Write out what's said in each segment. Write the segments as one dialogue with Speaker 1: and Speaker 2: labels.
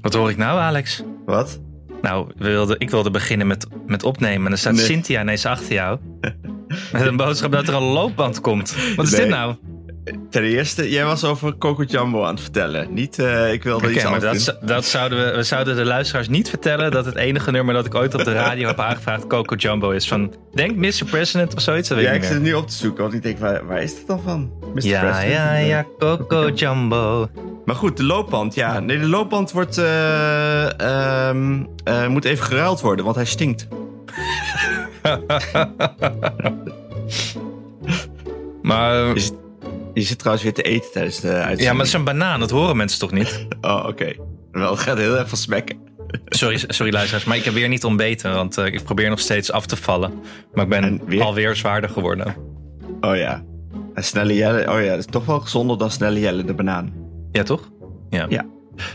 Speaker 1: Wat hoor ik nou, Alex?
Speaker 2: Wat?
Speaker 1: Nou, we wilden, ik wilde beginnen met, met opnemen. En dan staat
Speaker 2: Nee.
Speaker 1: Cynthia ineens achter jou. Met een boodschap dat er een loopband komt. Wat is
Speaker 2: Nee.
Speaker 1: dit nou?
Speaker 2: Ten eerste, jij was over Coco Jumbo aan het vertellen. Niet, eh, ik wilde
Speaker 1: Oké,
Speaker 2: iets
Speaker 1: maar
Speaker 2: anders
Speaker 1: dat, z-
Speaker 2: doen.
Speaker 1: dat zouden we, we zouden de luisteraars niet vertellen dat het enige nummer dat ik ooit op de radio heb aangevraagd Coco Jumbo is. Van, denk Mr. President of zoiets. Dat weet
Speaker 2: Ja,
Speaker 1: ik
Speaker 2: ik
Speaker 1: niet
Speaker 2: zit het
Speaker 1: meer.
Speaker 2: nu op te zoeken, want ik denk, waar, waar is dit dan van? Mr.
Speaker 1: Ja,
Speaker 2: President?
Speaker 1: ja, ja, Coco Jumbo.
Speaker 2: Maar goed, de loopband, ja. Nee, de loopband wordt, eh, ehm, eh, moet even geruild worden, want hij stinkt.
Speaker 1: Maar,
Speaker 2: Is- Je zit trouwens weer te eten tijdens de uitzending.
Speaker 1: ja, maar het is een banaan, dat horen mensen toch niet?
Speaker 2: Oh, oké. Wel, het gaat heel erg van smekken.
Speaker 1: Sorry, sorry luisteraars, maar ik heb weer niet ontbeten, want eh, ik probeer nog steeds af te vallen. Maar ik ben
Speaker 2: En weer?
Speaker 1: alweer zwaarder geworden.
Speaker 2: Oh ja. En Snelle Jelle, oh ja, dat is toch wel gezonder dan Snelle Jelle, de banaan.
Speaker 1: Ja, toch? Ja.
Speaker 2: Ja.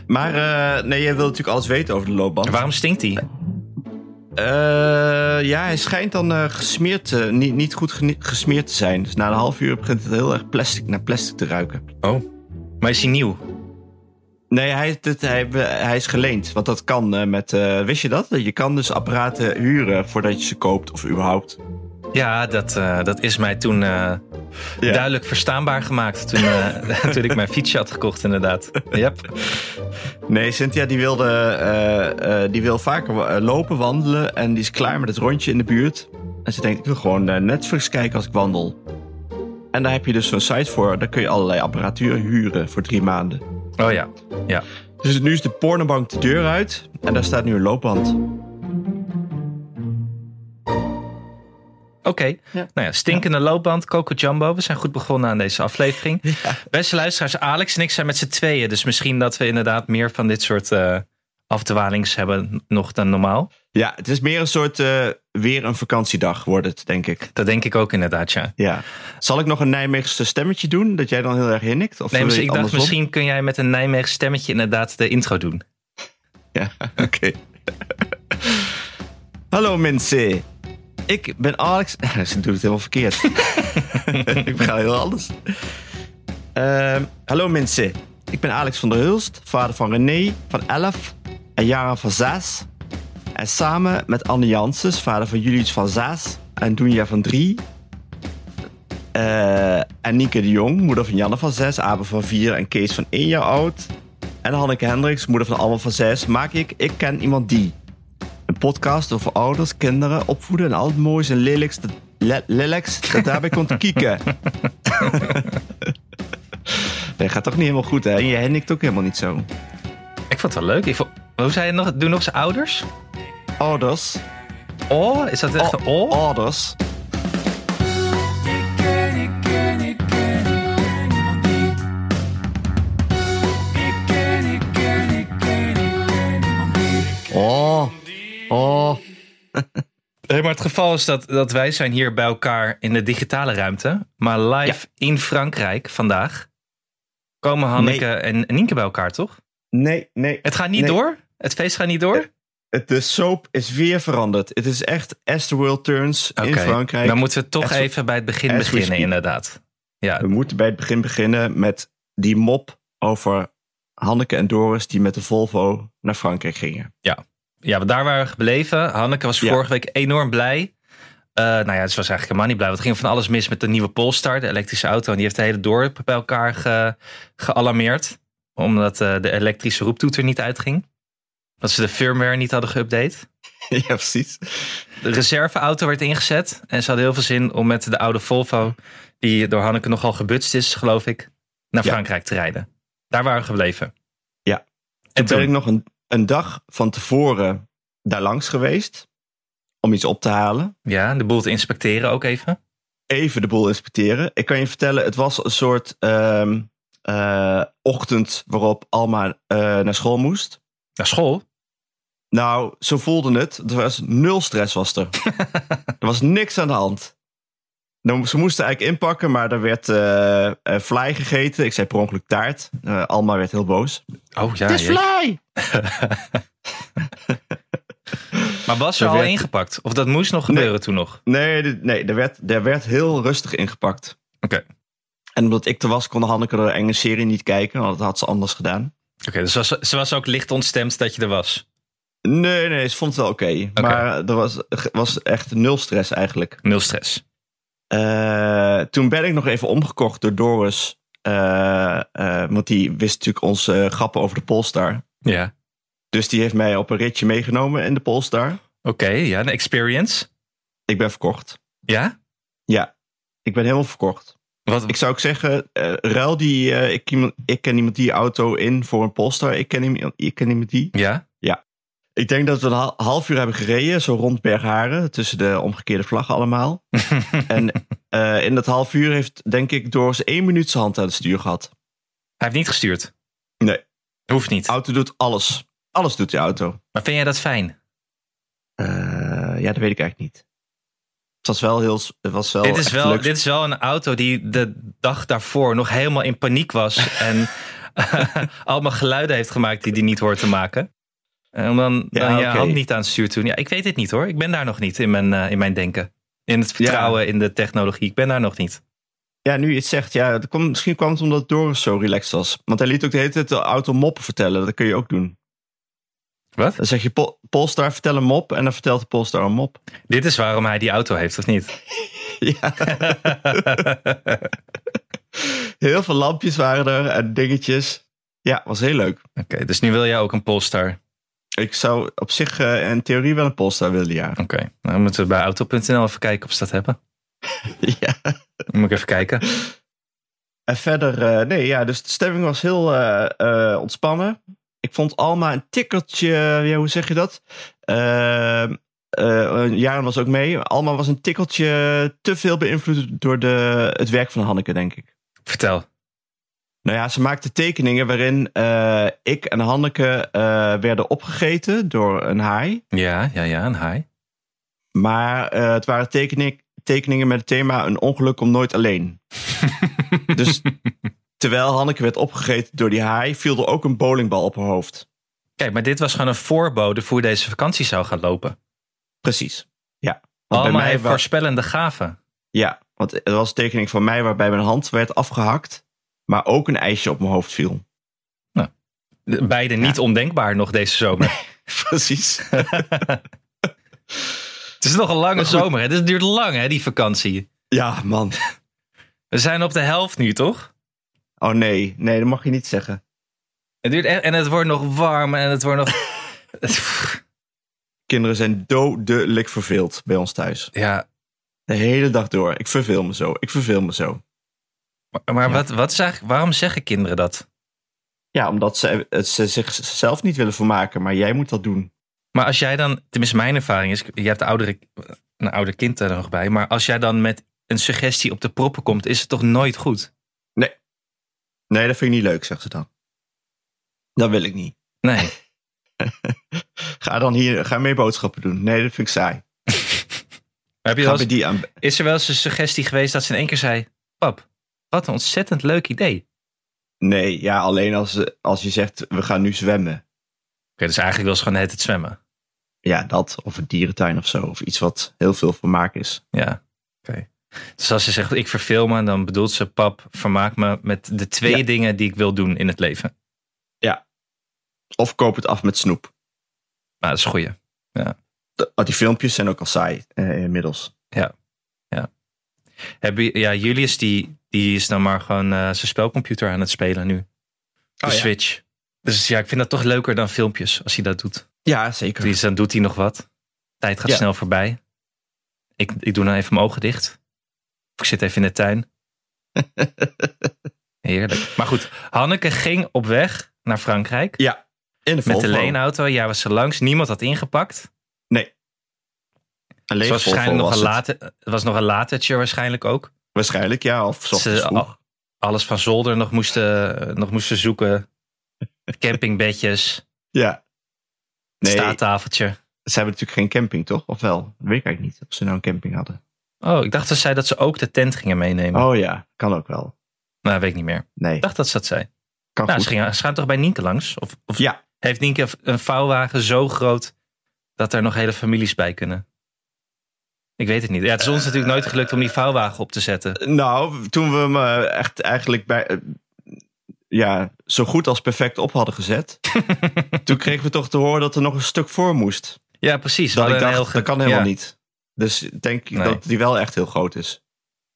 Speaker 2: Maar eh, nee, jij wil natuurlijk alles weten over de loopband.
Speaker 1: En waarom stinkt die?
Speaker 2: Eh, ja, hij schijnt dan eh, gesmeerd, eh, niet, niet goed geni- gesmeerd te zijn. Dus na een half uur begint het heel erg plastic, naar plastic te ruiken.
Speaker 1: Oh. Maar is die nieuw?
Speaker 2: Nee, hij, dit, hij, hij is geleend. Want dat kan eh, met. eh, wist je dat? Je kan dus apparaten huren voordat je ze koopt of überhaupt.
Speaker 1: Ja, dat, eh, dat is mij toen eh,
Speaker 2: Ja.
Speaker 1: duidelijk verstaanbaar gemaakt toen, eh, toen ik mijn fietsje had gekocht, inderdaad. Yep.
Speaker 2: Nee, Cynthia die, wilde, eh, eh, die wil vaker wa- eh, lopen, wandelen. En die is klaar met het rondje in de buurt. En ze denkt, ik wil gewoon eh, Netflix kijken als ik wandel. En daar heb je dus zo'n site voor. Daar kun je allerlei apparatuur huren voor drie maanden.
Speaker 1: Oh ja, ja.
Speaker 2: Dus nu is de pornobank de deur uit en daar staat nu een loopband.
Speaker 1: Oké,
Speaker 2: Ja.
Speaker 1: nou ja, stinkende loopband, Coco Jumbo. We zijn goed begonnen aan deze aflevering. Beste luisteraars, Alex en ik zijn met z'n tweeën. Dus misschien dat we inderdaad meer van dit soort eh afdwalings hebben nog dan normaal.
Speaker 2: Ja, het is meer een soort eh, weer een vakantiedag wordt het, denk ik.
Speaker 1: Dat denk ik ook inderdaad, ja.
Speaker 2: Ja. Zal ik nog een Nijmeegse stemmetje doen, dat jij dan heel erg hinnikt? Of
Speaker 1: Nee,
Speaker 2: wil
Speaker 1: dus
Speaker 2: je
Speaker 1: ik dacht,
Speaker 2: andersom?
Speaker 1: misschien kun jij met een Nijmeegse stemmetje inderdaad de intro doen.
Speaker 2: Ja, oké. Hallo mensen. Ik ben Alex. Ze doet het helemaal verkeerd. ik ga heel anders. Ehm, hallo mensen. Ik ben Alex van der Hulst, vader van René van 11 en Jara van 6. En samen met Anne Janssens, vader van Julius van 6 en Doenja van 3. Eh, en Nieke de Jong, moeder van Janne van 6, Abe van 4 en Kees van 1 jaar oud. En Hanneke Hendricks, moeder van Alma van 6, maak ik Ik Ken Iemand Die. Een podcast over ouders, kinderen, opvoeden en al het moois en lelijks dat, le- lelijks dat daarbij komt kieken. nee, gaat toch niet helemaal goed, hè? En jij hennikt ook helemaal niet zo.
Speaker 1: Ik vond het wel leuk. Ik vond, hoe zei je nog? Doe nog zijn ouders?
Speaker 2: Ouders.
Speaker 1: Oh, is dat echt een
Speaker 2: O-
Speaker 1: oh?
Speaker 2: Ouders. Oh. Oh.
Speaker 1: Nee, maar het geval is dat, dat wij zijn hier bij elkaar in de digitale ruimte. Maar live in Frankrijk vandaag komen Hanneke en Nienke bij elkaar, toch?
Speaker 2: Nee, nee.
Speaker 1: Het gaat niet
Speaker 2: Nee.
Speaker 1: door? Het feest gaat niet door?
Speaker 2: Het- De soap is weer veranderd. Het is echt As the World Turns in
Speaker 1: Oké,
Speaker 2: Frankrijk.
Speaker 1: Dan moeten we toch
Speaker 2: As-
Speaker 1: even bij het begin
Speaker 2: as we
Speaker 1: beginnen,
Speaker 2: speak.
Speaker 1: inderdaad. Ja,
Speaker 2: We moeten bij het begin beginnen met die mop over Hanneke en Doris die met de Volvo naar Frankrijk gingen.
Speaker 1: ja, want daar waren we gebleven. Hanneke was
Speaker 2: Ja.
Speaker 1: vorige week enorm blij. Eh, nou ja, ze was eigenlijk helemaal niet blij. Want er ging van alles mis met de nieuwe Polestar, de elektrische auto. En die heeft de hele dorp bij elkaar ge- gealarmeerd. Omdat eh, de elektrische roeptoeter niet uitging. Dat ze de firmware niet hadden geüpdate.
Speaker 2: ja, precies.
Speaker 1: De reserveauto werd ingezet. En ze hadden heel veel zin om met de oude Volvo, die door Hanneke nogal gebutst is, geloof ik, naar
Speaker 2: Ja.
Speaker 1: Frankrijk te rijden. Daar waren we gebleven.
Speaker 2: Ja.
Speaker 1: En
Speaker 2: Toen ben ik
Speaker 1: toen,
Speaker 2: nog een, een dag van tevoren daar langs geweest om iets op te halen.
Speaker 1: ja, de boel te inspecteren ook even.
Speaker 2: Even de boel inspecteren. Ik kan je vertellen, het was een soort ehm, eh, ochtend waarop Alma eh, naar school moest.
Speaker 1: Naar school.
Speaker 2: Nou, zo voelde het. Er was nul stress was er. er was niks aan de hand. Nou, ze moesten eigenlijk inpakken, maar er werd eh eh, fly gegeten. Ik zei per ongeluk taart. Eh, Alma werd heel boos.
Speaker 1: Oh ja.
Speaker 2: het is
Speaker 1: jeetje.
Speaker 2: fly!
Speaker 1: Maar was er
Speaker 2: Er
Speaker 1: al
Speaker 2: werd-
Speaker 1: ingepakt? Of dat moest nog gebeuren toen nog?
Speaker 2: Nee, dit- nee er, werd, er werd heel rustig ingepakt.
Speaker 1: Oké.
Speaker 2: En omdat ik er was, kon Hanneke de enge serie niet kijken. Want dat had ze anders gedaan.
Speaker 1: dus ze was, ze was ook licht ontstemd dat je er was.
Speaker 2: Nee, nee, ze vond het wel oké.
Speaker 1: Oké.
Speaker 2: Maar er was, was echt nul stress eigenlijk.
Speaker 1: Nul stress.
Speaker 2: Eh, toen ben ik nog even omgekocht door Doris. Eh, eh, want die wist natuurlijk onze eh, grappen over de Polestar.
Speaker 1: Ja.
Speaker 2: Dus die heeft mij op een ritje meegenomen in de Polestar.
Speaker 1: Oké, ja, een experience.
Speaker 2: Ik ben verkocht.
Speaker 1: Ja?
Speaker 2: Ja, ik ben helemaal verkocht.
Speaker 1: Wat?
Speaker 2: Ik zou ook zeggen, eh, ruil die... eh, ik, iemand- ik ken iemand die auto in voor een Polestar. Ik ken, iemand- ik ken iemand die.
Speaker 1: Ja?
Speaker 2: Ik denk dat we een ha- half uur hebben gereden, zo rond Bergharen, tussen de omgekeerde vlaggen allemaal. en eh, in dat half uur heeft, denk ik, Doris één minuut zijn hand aan het stuur gehad.
Speaker 1: Hij heeft niet gestuurd. Oh.
Speaker 2: Nee.
Speaker 1: Hoeft niet.
Speaker 2: De auto doet alles. Alles doet die auto.
Speaker 1: Maar vind jij dat fijn?
Speaker 2: Eh, ja, dat weet ik eigenlijk niet. Het was wel heel. Het was wel
Speaker 1: dit, is
Speaker 2: echt
Speaker 1: wel,
Speaker 2: leuk.
Speaker 1: dit is wel een auto die de dag daarvoor nog helemaal in paniek was. en eh, allemaal geluiden heeft gemaakt die hij niet hoort te maken. En om dan,
Speaker 2: Ja,
Speaker 1: dan je
Speaker 2: oké.
Speaker 1: hand niet aan het stuur te doen. Ja, ik weet het niet hoor. Ik ben daar nog niet in mijn, eh, in mijn denken. In het vertrouwen in de technologie. Ik ben daar nog niet.
Speaker 2: Ja, nu je het zegt, ja, het kwam, misschien kwam het omdat Doris zo relaxed was. Want hij liet ook de hele tijd de auto moppen vertellen. Dat kun je ook doen.
Speaker 1: Wat?
Speaker 2: Dan zeg je Pol- Polestar, vertel een mop. En dan vertelt de Polestar een mop.
Speaker 1: Dit is waarom hij die auto heeft, of niet?
Speaker 2: Ja. Heel veel lampjes waren er en dingetjes. Ja, was heel leuk.
Speaker 1: Oké, dus nu wil jij ook een Polestar. Oké,
Speaker 2: Ik zou op zich eh, in theorie wel een Polestar willen, ja.
Speaker 1: nou moeten we bij auto.nl even kijken of ze dat hebben.
Speaker 2: ja.
Speaker 1: Dan moet ik even kijken.
Speaker 2: En verder, eh, nee, ja, dus de stemming was heel eh, eh, ontspannen. Ik vond Alma een tikkeltje, ja, hoe zeg je dat? Eh, eh, Jaren was ook mee. Alma was een tikkeltje te veel beïnvloed door de, het werk van Hanneke, denk ik.
Speaker 1: Vertel.
Speaker 2: Nou ja, ze maakte tekeningen waarin eh, ik en Hanneke eh, werden opgegeten door een haai.
Speaker 1: Ja, ja, ja, een haai.
Speaker 2: Maar eh, het waren tekening, tekeningen met het thema een ongeluk om nooit alleen. dus terwijl Hanneke werd opgegeten door die haai, viel er ook een bowlingbal op haar hoofd.
Speaker 1: Kijk, maar dit was gewoon een voorbode voor hoe deze vakantie zou gaan lopen.
Speaker 2: Precies. Ja. Want bij
Speaker 1: Allemaal
Speaker 2: mij
Speaker 1: heeft
Speaker 2: wa-
Speaker 1: voorspellende gaven.
Speaker 2: Ja, want er was een tekening van mij waarbij mijn hand werd afgehakt, maar ook een ijsje op mijn hoofd viel.
Speaker 1: De- Beide niet ondenkbaar nog deze zomer.
Speaker 2: Precies.
Speaker 1: Het is nog een lange zomer. Hè? Dit duurt lang, hè, die vakantie.
Speaker 2: Ja, man.
Speaker 1: We zijn op de helft nu, toch?
Speaker 2: Oh nee, nee, dat mag je niet zeggen.
Speaker 1: Het duurt echt, en het wordt nog warm en het wordt nog...
Speaker 2: Kinderen zijn dodelijk verveeld bij ons thuis.
Speaker 1: ja,
Speaker 2: De hele dag door. Ik verveel me zo. Ik verveel me zo.
Speaker 1: maar, maar
Speaker 2: Ja.
Speaker 1: Wat, wat is eigenlijk, waarom zeggen kinderen dat?
Speaker 2: Ja, omdat ze, eh, ze zichzelf niet willen vermaken, maar jij moet dat doen.
Speaker 1: Maar als jij dan, tenminste mijn ervaring is, je hebt de oudere, een ouder kind er nog bij, maar als jij dan met een suggestie op de proppen komt, is het toch nooit goed?
Speaker 2: Nee, dat vind ik niet leuk, zegt ze dan. Dat wil ik niet.
Speaker 1: Nee.
Speaker 2: Ga dan hier, ga meer boodschappen doen. Nee, dat vind ik saai.
Speaker 1: Heb je wel
Speaker 2: Ga
Speaker 1: eens-
Speaker 2: bij die aan.
Speaker 1: is er wel eens een suggestie geweest dat ze in één keer zei, pap, wat een ontzettend leuk idee. Oké,
Speaker 2: Nee, ja, alleen als, eh, als je zegt, we gaan nu zwemmen.
Speaker 1: dus eigenlijk wil ze gewoon net het zwemmen.
Speaker 2: Ja, dat. Of een dierentuin of zo. Of iets wat heel veel vermaak is.
Speaker 1: Ja, oké. Dus als ze zegt, ik verveel me, dan bedoelt ze, pap, vermaak me met de twee
Speaker 2: Ja.
Speaker 1: dingen die ik wil doen in het leven.
Speaker 2: Of koop het af met snoep.
Speaker 1: Nou, dat is goeie.
Speaker 2: De- oh, die filmpjes zijn ook al saai eh, inmiddels.
Speaker 1: Heb je, ja, Julius die, die is dan maar gewoon eh, zijn spelcomputer aan het spelen nu. De
Speaker 2: Oh, ja.
Speaker 1: Switch. Dus ja, ik vind dat toch leuker dan filmpjes als hij dat doet.
Speaker 2: Ja, zeker.
Speaker 1: Dus dan doet hij nog wat. Tijd gaat
Speaker 2: Ja.
Speaker 1: snel voorbij. Ik, ik doe dan even mijn ogen dicht. Of ik zit even in de tuin. Heerlijk. Maar goed, Hanneke ging op weg naar Frankrijk.
Speaker 2: Ja, in de
Speaker 1: met de
Speaker 2: Volvo.
Speaker 1: leenauto. Jij was er langs. Niemand had ingepakt.
Speaker 2: Een
Speaker 1: Het
Speaker 2: lege
Speaker 1: was
Speaker 2: Volvo
Speaker 1: waarschijnlijk nog
Speaker 2: was
Speaker 1: een,
Speaker 2: het.
Speaker 1: late, het was nog een latertje waarschijnlijk ook.
Speaker 2: Waarschijnlijk, ja. Of 's ochtends
Speaker 1: Ze- oh,
Speaker 2: vroeg.
Speaker 1: Alles van zolder nog moesten, nog moesten zoeken. Campingbedjes,
Speaker 2: Ja.
Speaker 1: staattafeltje.
Speaker 2: Ze hebben natuurlijk geen camping, toch? Of wel? Dat weet ik eigenlijk niet. Of ze nou een camping hadden.
Speaker 1: Oh, ik dacht dat zij dat ze ook de tent gingen meenemen.
Speaker 2: Oh ja, kan ook wel.
Speaker 1: Nou, weet ik niet meer.
Speaker 2: Nee,
Speaker 1: Ik dacht dat ze dat zei.
Speaker 2: kan
Speaker 1: nou,
Speaker 2: goed.
Speaker 1: ze, gingen, ze gaan toch bij Nienke langs? Of, of
Speaker 2: Ja.
Speaker 1: heeft Nienke een vouwwagen zo groot dat er nog hele families bij kunnen? Ik weet het niet. Ja, het is ons natuurlijk nooit gelukt om die vouwwagen op te zetten.
Speaker 2: Nou, toen we hem eh, echt eigenlijk bij... eh, ja, zo goed als perfect op hadden gezet. Toen kregen we toch te horen dat er nog een stuk voor moest.
Speaker 1: Ja, precies.
Speaker 2: Dat
Speaker 1: We
Speaker 2: ik
Speaker 1: hadden een
Speaker 2: dacht,
Speaker 1: heel ge-
Speaker 2: dat kan helemaal
Speaker 1: ja.
Speaker 2: niet. Dus denk ik
Speaker 1: Nee.
Speaker 2: dat die wel echt heel groot is.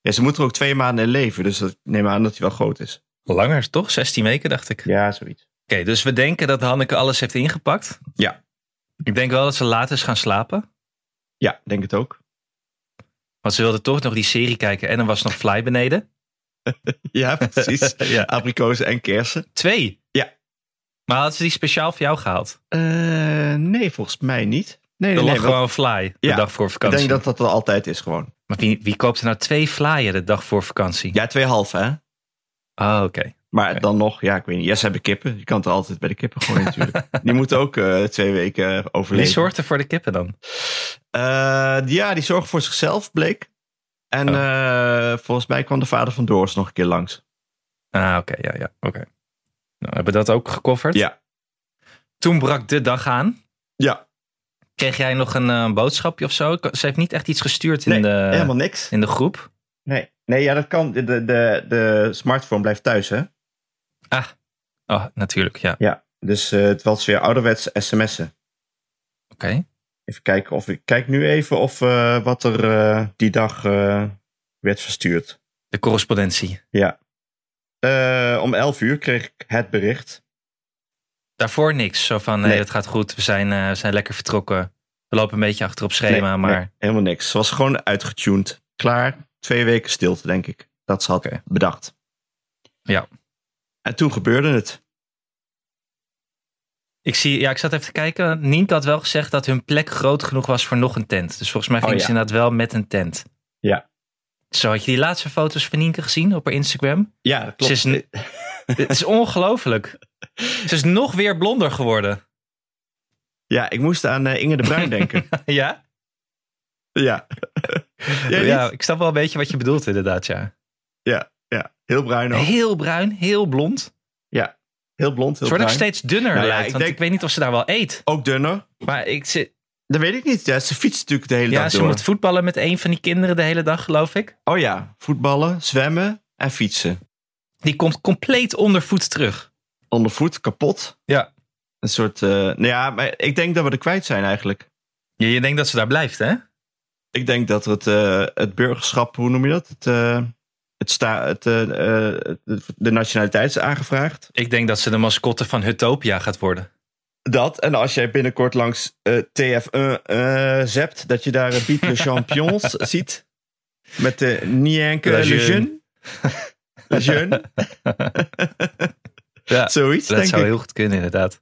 Speaker 2: Ja, ze moeten er ook twee maanden in leven, dus dat, ik neem aan dat die wel groot is.
Speaker 1: Langer, toch? 16 weken, dacht ik.
Speaker 2: Ja, zoiets.
Speaker 1: Oké, dus we denken dat Hanneke alles heeft ingepakt.
Speaker 2: Ja.
Speaker 1: Ik denk wel dat ze later is gaan slapen.
Speaker 2: Ja, denk het ook.
Speaker 1: Want ze wilde toch nog die serie kijken en er was nog Fly beneden.
Speaker 2: Ja, precies.
Speaker 1: Ja.
Speaker 2: Abrikozen en kersen.
Speaker 1: Twee.
Speaker 2: Ja.
Speaker 1: Maar had ze die speciaal voor jou gehaald?
Speaker 2: Eh, nee, volgens mij niet. Nee,
Speaker 1: Er
Speaker 2: nee,
Speaker 1: lag
Speaker 2: nee, want
Speaker 1: gewoon Fly de
Speaker 2: Ja,
Speaker 1: dag voor
Speaker 2: Ik
Speaker 1: vakantie.
Speaker 2: denk dat dat er altijd is gewoon.
Speaker 1: Maar wie, wie koopt er nou twee Flyen de dag voor vakantie?
Speaker 2: Ja, twee half hè.
Speaker 1: Ah, oké.
Speaker 2: Maar
Speaker 1: Oké.
Speaker 2: dan nog, ja, ik weet niet. Ja, ze hebben kippen. Je kan het er altijd bij de kippen gooien natuurlijk. Die moeten ook eh, twee weken eh,
Speaker 1: Wie
Speaker 2: overleven.
Speaker 1: zorgt er voor de kippen dan?
Speaker 2: Eh, ja, die zorgen voor zichzelf, bleek. En eh, volgens mij kwam de vader van Doris nog een keer langs.
Speaker 1: Ah, oké. ja, ja. oké. Nou, hebben we dat ook gecoverd?
Speaker 2: Ja.
Speaker 1: Toen brak de dag aan.
Speaker 2: Ja,
Speaker 1: Kreeg jij nog een eh, boodschapje of zo? Ik- Ze heeft niet echt iets gestuurd in,
Speaker 2: Nee,
Speaker 1: de,
Speaker 2: Eh. helemaal niks.
Speaker 1: in de groep.
Speaker 2: Nee, nee ja, dat kan. De, de, de, de smartphone blijft thuis, hè?
Speaker 1: Ah, oh, natuurlijk, ja. Oké.
Speaker 2: Ja, dus eh, het was weer ouderwets sms'en. Even kijken of ik kijk nu even of eh, wat er eh, die dag eh, werd verstuurd.
Speaker 1: De correspondentie.
Speaker 2: Ja. Eh, om 11 uur kreeg ik het bericht.
Speaker 1: Daarvoor niks. Zo van, nee,
Speaker 2: Nee.
Speaker 1: het gaat goed. We zijn, eh, we zijn lekker vertrokken. We lopen een beetje achter op schema,
Speaker 2: Nee,
Speaker 1: maar...
Speaker 2: nee, helemaal niks. Ze was gewoon uitgetuned. Klaar. Twee weken stilte, denk ik. Dat ze had
Speaker 1: Oké.
Speaker 2: bedacht.
Speaker 1: Ja.
Speaker 2: En toen gebeurde het.
Speaker 1: Ik zie, ja, ik zat even te kijken. Nient had wel gezegd dat hun plek groot genoeg was voor nog een tent. Dus volgens mij
Speaker 2: Oh,
Speaker 1: gingen
Speaker 2: ja.
Speaker 1: ze inderdaad wel met een tent.
Speaker 2: Ja.
Speaker 1: Zo, had je die laatste foto's van Nienke gezien op haar Instagram?
Speaker 2: Ja, dat
Speaker 1: Ze is n- Het is ongelooflijk. Ze is nog weer blonder geworden.
Speaker 2: Ja, ik moest aan eh, Inge de Bruin denken.
Speaker 1: ja?
Speaker 2: ja. Jij niet?
Speaker 1: Ja, ik snap wel een beetje wat je bedoelt inderdaad, ja.
Speaker 2: ja, heel bruin ook.
Speaker 1: Heel bruin, heel blond.
Speaker 2: Heel blond, heel
Speaker 1: Ze wordt ook
Speaker 2: bruin.
Speaker 1: steeds dunner,
Speaker 2: Nou ja,
Speaker 1: lijkt.
Speaker 2: ik
Speaker 1: want
Speaker 2: denk-
Speaker 1: ik weet niet of ze daar wel eet.
Speaker 2: Ook dunner.
Speaker 1: Maar ik, ze,
Speaker 2: Dat weet ik niet. Ja, ze fietst natuurlijk de hele
Speaker 1: ja,
Speaker 2: dag
Speaker 1: ze
Speaker 2: door.
Speaker 1: moet voetballen met een van die kinderen de hele dag, geloof ik.
Speaker 2: Oh ja, voetballen, zwemmen en fietsen.
Speaker 1: Die komt compleet ondervoet terug.
Speaker 2: Ondervoet, kapot.
Speaker 1: Ja.
Speaker 2: Een soort... eh, nou ja, maar ik denk dat we er kwijt zijn eigenlijk.
Speaker 1: Je, je denkt dat ze daar blijft, hè?
Speaker 2: Ik denk dat het, eh, het burgerschap, hoe noem je dat? Het, eh, het sta, het, eh, eh, het- de nationaliteit is aangevraagd.
Speaker 1: Ik denk dat ze de mascotte van Hutopia gaat worden.
Speaker 2: Dat, en als jij binnenkort langs eh, TF1 eh zept, dat je daar een Beat de Champions ziet. Met de Nienke
Speaker 1: Le
Speaker 2: Le
Speaker 1: Jeune.
Speaker 2: Jeune. Le Jeune,
Speaker 1: Ja,
Speaker 2: zoiets
Speaker 1: dat
Speaker 2: denk
Speaker 1: zou
Speaker 2: ik.
Speaker 1: heel goed kunnen, inderdaad.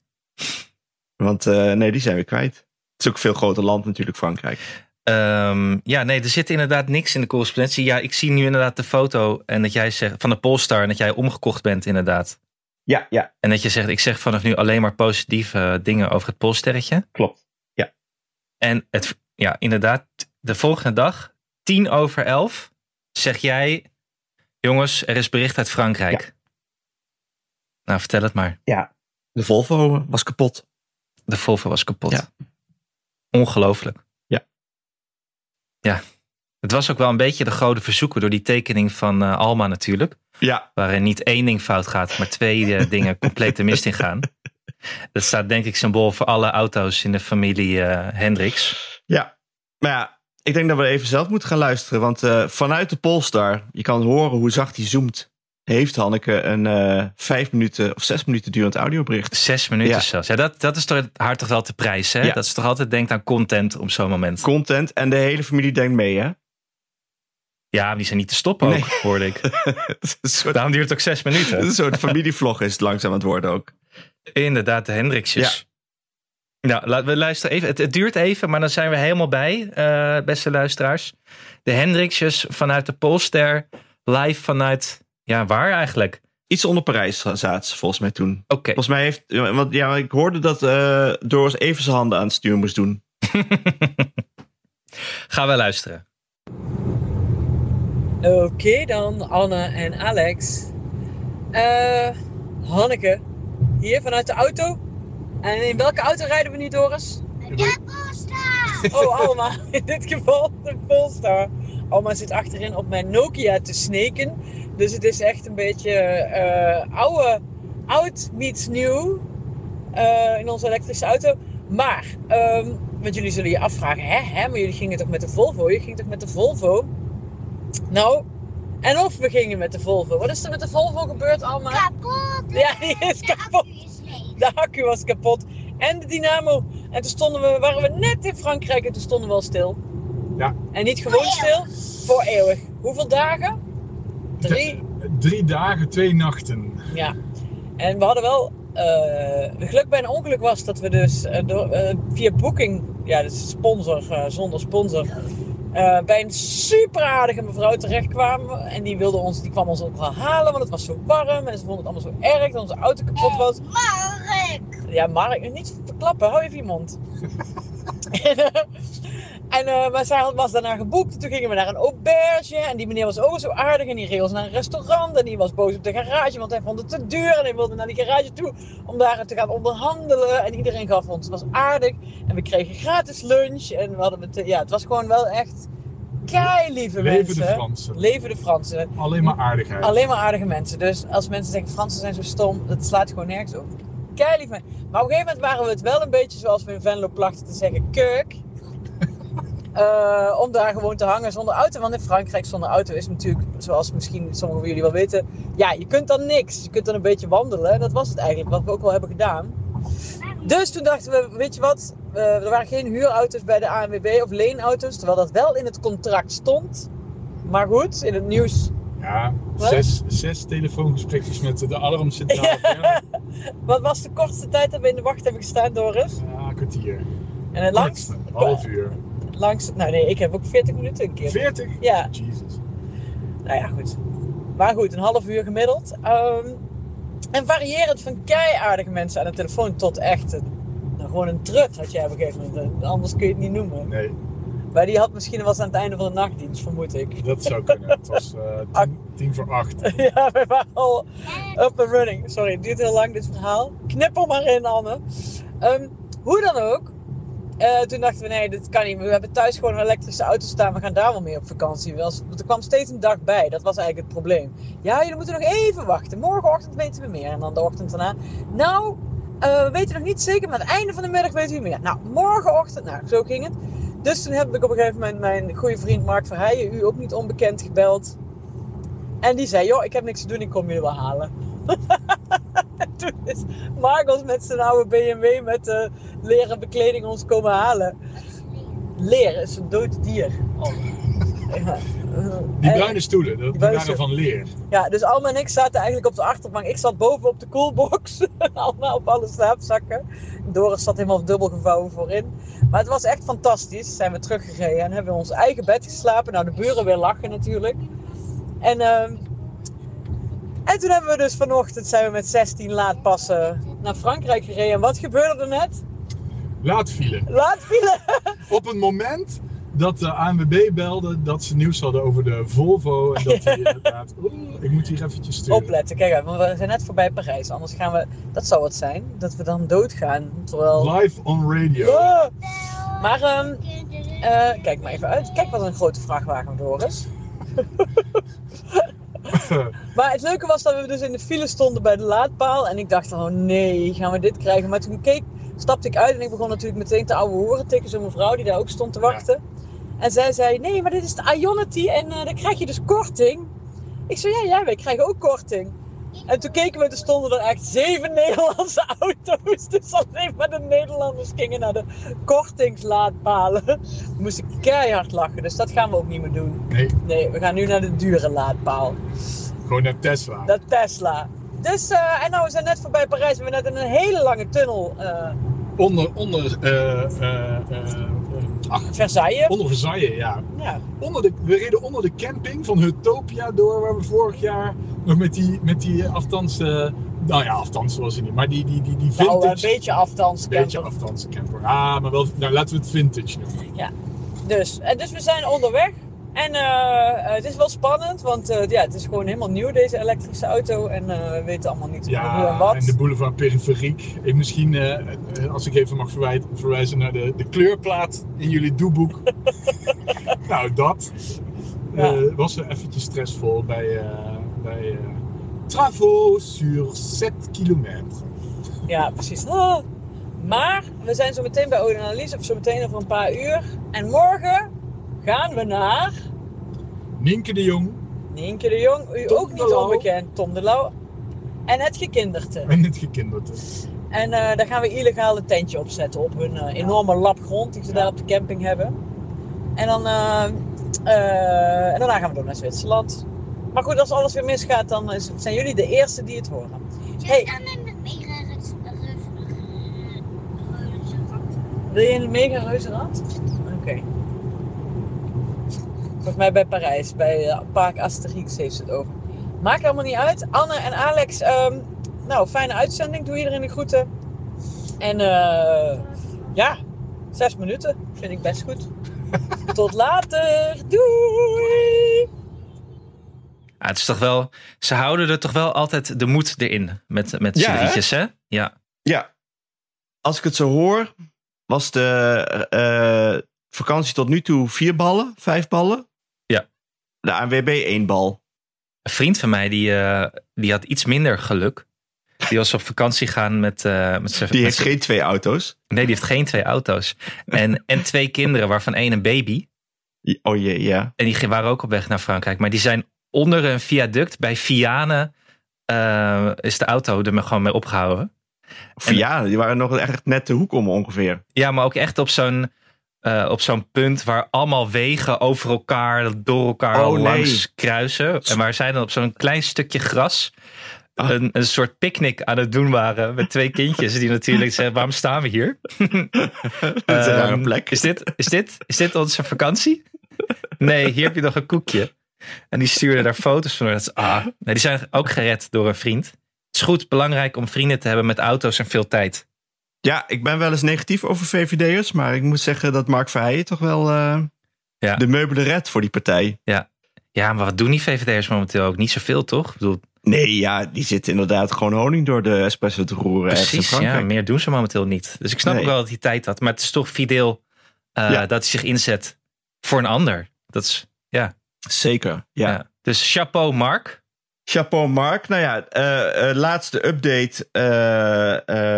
Speaker 2: Want eh, nee, die zijn we kwijt. Het is ook een veel groter land natuurlijk, Frankrijk.
Speaker 1: Ehm, ja, nee, er zit inderdaad niks in de correspondentie. Ja, ik zie nu inderdaad de foto en dat jij zegt, van de Polestar en dat jij omgekocht bent, inderdaad.
Speaker 2: Ja, ja,
Speaker 1: En dat je zegt, ik zeg vanaf nu alleen maar positieve eh, dingen over het Polsterretje.
Speaker 2: klopt.
Speaker 1: En het, ja, inderdaad, de volgende dag, tien over elf, zeg jij... Jongens, er is bericht uit Frankrijk. Nou, vertel het maar.
Speaker 2: De Volvo was kapot.
Speaker 1: De Volvo was kapot.
Speaker 2: Ja.
Speaker 1: Ongelooflijk.
Speaker 2: Ja.
Speaker 1: Ja. Het was ook wel een beetje de grote verzoeken door die tekening van eh, Alma natuurlijk.
Speaker 2: Ja,
Speaker 1: Waarin niet één ding fout gaat, maar twee eh, dingen compleet de mist in gaan. Dat staat denk ik symbool voor alle auto's in de familie eh, Hendricks.
Speaker 2: ja. Maar ja, ik denk dat we even zelf moeten gaan luisteren. Want eh, vanuit de Polestar, je kan horen hoe zacht hij zoomt. Heeft Hanneke een eh, vijf minuten of zes minuten durend audiobericht.
Speaker 1: Zes minuten
Speaker 2: Ja.
Speaker 1: zelfs. Ja, dat, dat is toch, haar toch wel te prijs, hè?
Speaker 2: Ja.
Speaker 1: Dat ze toch altijd denkt aan content op zo'n moment.
Speaker 2: Content en de hele familie denkt mee, hè?
Speaker 1: Ja, maar die zijn niet te stoppen ook,
Speaker 2: Nee.
Speaker 1: hoorde ik.
Speaker 2: Het is een soort,
Speaker 1: Daarom duurt het ook zes
Speaker 2: het is
Speaker 1: minuten.
Speaker 2: een soort familievlog is het langzaam aan het worden ook.
Speaker 1: Inderdaad, de Hendriksjes. Nou, laten we luisteren even. Het, het duurt even, maar dan zijn we helemaal bij, eh, beste luisteraars. De Hendriksjes vanuit de Polster, live vanuit, ja, waar eigenlijk?
Speaker 2: Iets onder Parijs zaten ze volgens mij toen.
Speaker 1: Oké,
Speaker 2: Volgens mij heeft... Want ja, ik hoorde dat eh Doris even zijn handen aan het stuur moest doen.
Speaker 1: gaan we luisteren.
Speaker 3: Oké dan, Anne en Alex. Eh, Hanneke, hier vanuit de auto. En in welke auto rijden we nu, Doris?
Speaker 4: De posta!
Speaker 3: Oh, Alma, in dit geval de Polestar. Alma zit achterin op mijn Nokia te sneken. Dus het is echt een beetje eh oude oud meets nieuw eh, in onze elektrische auto. Maar, ehm, want jullie zullen je afvragen, hè, hè, maar jullie gingen toch met de Volvo? Je ging toch met de Volvo? Nou, en of we gingen met de Volvo. Wat is er met de Volvo gebeurd allemaal?
Speaker 4: Kapot.
Speaker 3: Ja, die is
Speaker 4: De
Speaker 3: kapot.
Speaker 4: accu is leeg.
Speaker 3: De accu was kapot en de dynamo. En toen stonden we, waren we net in Frankrijk en toen stonden we al stil.
Speaker 5: Ja.
Speaker 3: En niet gewoon stil,
Speaker 4: Voor
Speaker 3: voor eeuwig. Hoeveel dagen? Drie.
Speaker 5: Drie dagen, twee nachten.
Speaker 3: Ja. En we hadden wel eh, geluk bij een ongeluk was dat we dus eh, door, eh, via Booking, ja, dat is sponsor eh, zonder sponsor, eh, bij een super aardige mevrouw terechtkwamen. En die wilde ons, die kwam ons ook wel halen, want het was zo warm en ze vonden het allemaal zo erg dat onze auto kapot was.
Speaker 4: Mark.
Speaker 3: Ja, Mark, niet verklappen, hou even je mond. en eh, maar zij had- was daarna geboekt. Toen gingen we naar een auberge. En die meneer was ook zo aardig. En die reed ons naar een restaurant. En die was boos op de garage, want hij vond het te duur. En hij wilde naar die garage toe om daar te gaan onderhandelen. En iedereen gaf ons, het was aardig. En we kregen gratis lunch. En we hadden het, eh, ja, het was gewoon wel echt kei lieve
Speaker 5: Leven
Speaker 3: mensen.
Speaker 5: de Fransen.
Speaker 3: Leven de Fransen.
Speaker 5: Alleen maar aardigheid.
Speaker 3: Alleen maar aardige mensen. Dus als mensen zeggen Fransen zijn zo stom, dat slaat gewoon nergens op. Kei lief mensen. Maar op een gegeven moment waren we het wel een beetje zoals we in Venlo plachten te zeggen, keuk. Eh, om daar gewoon te hangen zonder auto. Want in Frankrijk zonder auto is natuurlijk, zoals misschien sommigen van jullie wel weten, ja, je kunt dan niks. Je kunt dan een beetje wandelen. En dat was het eigenlijk, wat we ook wel hebben gedaan. Dus toen dachten we, weet je wat, eh, er waren geen huurauto's bij de ANWB of leenauto's. Terwijl dat wel in het contract stond. Maar goed, in het nieuws
Speaker 5: Ja,
Speaker 3: Wat?
Speaker 5: zes, zes telefoongesprekjes met de alarmcentrale. Ja.
Speaker 3: Wat was de kortste tijd dat we in de wacht hebben gestaan, Doris?
Speaker 5: Ja, een kwartier.
Speaker 3: En het langst?
Speaker 5: Half uur.
Speaker 3: Langs, nou nee, ik heb ook 40 minuten een keer.
Speaker 5: 40?
Speaker 3: Ja,
Speaker 5: Jesus.
Speaker 3: nou ja, goed. Maar goed, een half uur gemiddeld. Ehm, en variërend van keiaardige mensen aan de telefoon tot echt een, nou, gewoon een trut had jij op een gegeven moment. Anders kun je het niet noemen.
Speaker 5: Nee,
Speaker 3: Maar die had misschien was aan het einde van de nachtdienst, vermoed ik.
Speaker 5: dat zou kunnen. Het was eh, tien, tien voor acht.
Speaker 3: ja, we waren al up and running. Sorry, het duurt heel lang dit verhaal. Knip er maar in, Anne. Ehm, hoe dan ook. eh, toen dachten we, nee, dit kan niet. We hebben thuis gewoon een elektrische auto staan. We gaan daar wel mee op vakantie. Wel, Want er kwam steeds een dag bij. Dat was eigenlijk het probleem. Ja, jullie moeten nog even wachten. Morgenochtend weten we meer. En dan de ochtend daarna. Nou, eh, we weten nog niet zeker. Maar aan het einde van de middag weten we meer. Nou, morgenochtend. Nou, zo ging het. Dus toen heb ik op een gegeven moment mijn goede vriend Mark Verheijen, u ook niet onbekend, gebeld. En die zei, joh, ik heb niks te doen, ik kom jullie wel halen. Toen is Marcos met zijn oude BMW met eh, leren bekleding ons komen halen. Leer is een dood dier. Oh. Ja.
Speaker 5: Die
Speaker 3: En-
Speaker 5: bruine stoelen, dat, die
Speaker 3: bruine
Speaker 5: waren van leer.
Speaker 3: ja, dus Alma en ik zaten eigenlijk op de achterbank. Ik zat boven op de koelbox. Alma op alle slaapzakken. Doris zat helemaal dubbel gevouwen voorin. Maar het was echt fantastisch. Zijn we teruggereden en hebben we in ons eigen bed geslapen. Nou, de buren weer lachen natuurlijk. En, ehm, en toen hebben we dus vanochtend zijn we met 16 laadpassen naar Frankrijk gereden. En wat gebeurde er net?
Speaker 5: Laat vielen.
Speaker 3: Laat vielen!
Speaker 5: Op het moment dat de ANWB belde dat ze nieuws hadden over de Volvo. En dat die inderdaad... Oeh, ik moet hier eventjes sturen.
Speaker 3: Opletten, kijk uit, want we zijn net voorbij Parijs. Anders gaan we, dat zou het zijn, dat we dan doodgaan. Terwijl...
Speaker 5: Live on radio.
Speaker 3: Ah! Maar ehm, Eh, kijk maar even uit. Kijk wat een grote vrachtwagen Doris. Maar het leuke was dat we dus in de file stonden bij de laadpaal. En ik dacht, oh nee, gaan we dit krijgen? Maar toen keek, stapte ik uit en ik begon natuurlijk meteen te ouwe horen tegen zo'n mevrouw die daar ook stond te wachten. En zij zei, nee, maar dit is de Ionity en eh dan krijg je dus korting. Ik zei, ja, ja, wij krijgen ook korting. En toen keken we, er stonden er echt zeven Nederlandse auto's. Dus alleen maar de Nederlanders gingen naar de kortingslaadpalen. Dan moest ik keihard lachen, dus dat gaan we ook niet meer doen.
Speaker 5: Nee,
Speaker 3: Nee, we gaan nu naar de dure laadpaal.
Speaker 5: gewoon naar Tesla.
Speaker 3: Dat Tesla. Dus, eh, en nou, we zijn net voorbij Parijs. We hebben net in een hele lange tunnel eh
Speaker 5: Onder, onder, eh, eh, eh, eh, ach,
Speaker 3: Versailles.
Speaker 5: onder Versailles, ja.
Speaker 3: Ja, nou,
Speaker 5: Onder de, we reden onder de camping van Hutopia door, waar we vorig jaar nog met die, met die eh, aftans, eh, nou ja, aftans was hij niet, maar die, die, die, die vintage.
Speaker 3: nou, een beetje afstands.
Speaker 5: Een beetje aftans camper. Ah, maar wel, nou laten we het vintage noemen.
Speaker 3: Dus, eh, dus we zijn onderweg. En eh, eh, het is wel spannend, want eh, ja, het is gewoon helemaal nieuw, deze elektrische auto. En eh, we weten allemaal niet hoe en
Speaker 5: Ja,
Speaker 3: wat.
Speaker 5: en de boulevard periferiek. Ik misschien, eh, eh, als ik even mag verwij- verwijzen naar de, de kleurplaat in jullie doeboek. nou, dat eh,
Speaker 3: Ja.
Speaker 5: was er eventjes stressvol bij, eh, bij eh, travaux sur 7 kilometer.
Speaker 3: Ja, precies. Ah. Maar we zijn zo meteen bij Ode en Annelies, of zo meteen over een paar uur. En morgen gaan we naar
Speaker 5: Nienke de Jong
Speaker 3: Nienke de Jong, u
Speaker 5: Tom
Speaker 3: ook
Speaker 5: de
Speaker 3: niet
Speaker 5: Lauw.
Speaker 3: onbekend, Tom de Lauw. En het gekinderte.
Speaker 5: en het gekinderte.
Speaker 3: En eh, daar gaan we illegaal een tentje opzetten op hun eh, enorme lap grond die ze daar op de camping hebben. En, dan, eh, eh, en daarna gaan we door naar Zwitserland. Maar goed, als alles weer misgaat, dan is- zijn jullie de eerste die het horen. Hey.
Speaker 4: Zit dan in de mega rust- rust- rust- rust-
Speaker 3: Wil je in een mega reuzenrad? Oké. Volgens mij bij Parijs, bij eh, Park Asterix heeft ze het over. Maakt allemaal niet uit. Anne en Alex, ehm, nou, fijne uitzending. Doe iedereen de groeten. En eh, ja, zes minuten vind ik best goed. Tot later. Doei!
Speaker 1: Ja, Ah, het is toch wel, ze houden er toch wel altijd de moed erin met, met z'n
Speaker 2: Ja, hè?
Speaker 1: drietjes, hè? Ja.
Speaker 2: Ja. Als ik het zo hoor, was de eh, vakantie tot nu toe vier ballen, vijf ballen.
Speaker 1: Ja.
Speaker 2: De ANWB één bal.
Speaker 1: Een vriend van mij, die, eh, die had iets minder geluk. Die was op vakantie gaan met, eh met zijn...
Speaker 2: Die
Speaker 1: met
Speaker 2: heeft
Speaker 1: zijn-
Speaker 2: geen twee auto's.
Speaker 1: Nee, die heeft geen twee auto's. En, en twee kinderen, waarvan één een baby.
Speaker 2: Oh jee, ja.
Speaker 1: En die gingen- waren ook op weg naar Frankrijk. Maar die zijn onder een viaduct bij Vianen... eh, is de auto er maar gewoon mee opgehouden.
Speaker 2: Verjaarden, die waren nog echt net de hoek om ongeveer.
Speaker 1: Ja, maar ook echt op zo'n eh, op zo'n punt waar allemaal wegen over elkaar, door elkaar
Speaker 2: Oh,
Speaker 1: al
Speaker 2: nee.
Speaker 1: langs kruisen. En waar zij dan op zo'n klein stukje gras
Speaker 2: Ah.
Speaker 1: een, een soort picknick aan het doen waren. Met twee kindjes die natuurlijk zeiden, waarom staan we hier?
Speaker 2: Dat is een rare
Speaker 1: Ehm,
Speaker 2: plek.
Speaker 1: Is dit, is, dit, is dit onze vakantie? Nee, hier heb je nog een koekje. En die stuurden daar foto's van. Dat is, ah, nee, die zijn ook gered door een vriend. Het is goed, belangrijk om vrienden te hebben met auto's en veel tijd.
Speaker 2: Ja, ik ben wel eens negatief over VVD'ers, maar ik moet zeggen dat Mark Verheijen toch wel eh,
Speaker 1: Ja.
Speaker 2: de meubelen redt voor die partij.
Speaker 1: Ja, maar wat doen die VVD'ers momenteel ook? Niet zoveel, toch? Ik bedoel,
Speaker 2: Nee, ja, die zit inderdaad gewoon honing door de espresso te roeren. ergens in
Speaker 1: Precies, ja,
Speaker 2: Frankrijk.
Speaker 1: meer doen ze momenteel niet. Dus ik snap
Speaker 2: Nee.
Speaker 1: ook wel dat hij tijd had. Maar het is toch fideel eh,
Speaker 2: Ja.
Speaker 1: dat hij zich inzet voor een ander. Dat is,
Speaker 2: Zeker, ja.
Speaker 1: ja. Dus chapeau Mark.
Speaker 2: Chapeau Mark. Nou ja, eh, eh, laatste update. eh,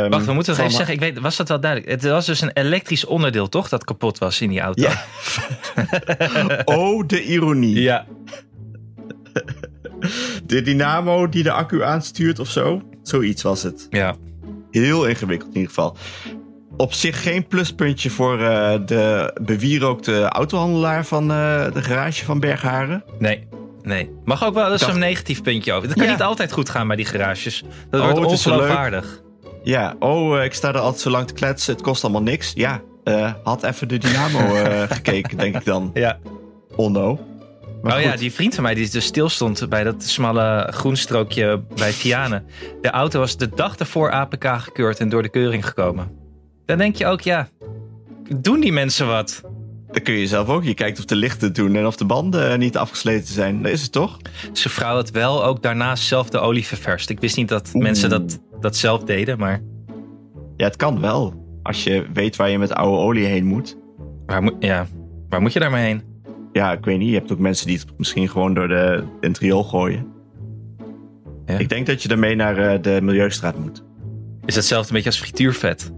Speaker 2: ehm,
Speaker 1: Wacht, we moeten nog even Mm.
Speaker 2: van-
Speaker 1: zeggen. Ik weet, was dat wel duidelijk? Het was dus een elektrisch onderdeel, toch? Dat kapot was in die auto.
Speaker 2: Ja. Oh, de ironie.
Speaker 1: ja.
Speaker 2: De dynamo die de accu aanstuurt of zo. Zoiets was het.
Speaker 1: ja.
Speaker 2: Heel ingewikkeld in ieder geval. Op zich geen pluspuntje voor eh, de bewierookte autohandelaar van eh, de garage van Bergharen.
Speaker 1: Nee. Nee. Mag ook wel, dat is
Speaker 2: Dacht-
Speaker 1: zo'n negatief puntje over. Dat kan
Speaker 2: Ja.
Speaker 1: niet altijd goed gaan bij die garages. Dat
Speaker 2: Oh,
Speaker 1: wordt
Speaker 2: het is zo
Speaker 1: ongeloofwaardig.
Speaker 2: Ja, oh, eh, ik sta er altijd zo lang te kletsen. Het kost allemaal niks. Ja, eh, had even de dynamo eh, gekeken, denk ik dan.
Speaker 1: Ja.
Speaker 2: Onno. Maar
Speaker 1: oh ja,
Speaker 2: goed.
Speaker 1: die vriend van mij die dus stilstond bij dat smalle groenstrookje bij Vianen. De auto was de dag ervoor APK gekeurd en door de keuring gekomen. Dan denk je ook, ja, doen die mensen wat?
Speaker 2: Dan kun je zelf ook. Je kijkt of de lichten het doen en of de banden eh, niet afgesleten zijn. Dat is het toch?
Speaker 1: Zijn vrouw had wel ook daarna zelf de olie ververst. Ik wist niet dat
Speaker 2: Oeh.
Speaker 1: mensen dat, dat zelf deden, maar
Speaker 2: Ja, het kan wel. Als je weet waar je met oude olie heen moet.
Speaker 1: waar, moet ja, waar moet je daarmee heen?
Speaker 2: Ja, ik weet niet. Je hebt ook mensen die het misschien gewoon door de, in het riool gooien.
Speaker 1: Ja.
Speaker 2: Ik denk dat je daarmee naar eh, de Milieustraat moet.
Speaker 1: Is hetzelfde een beetje als frituurvet?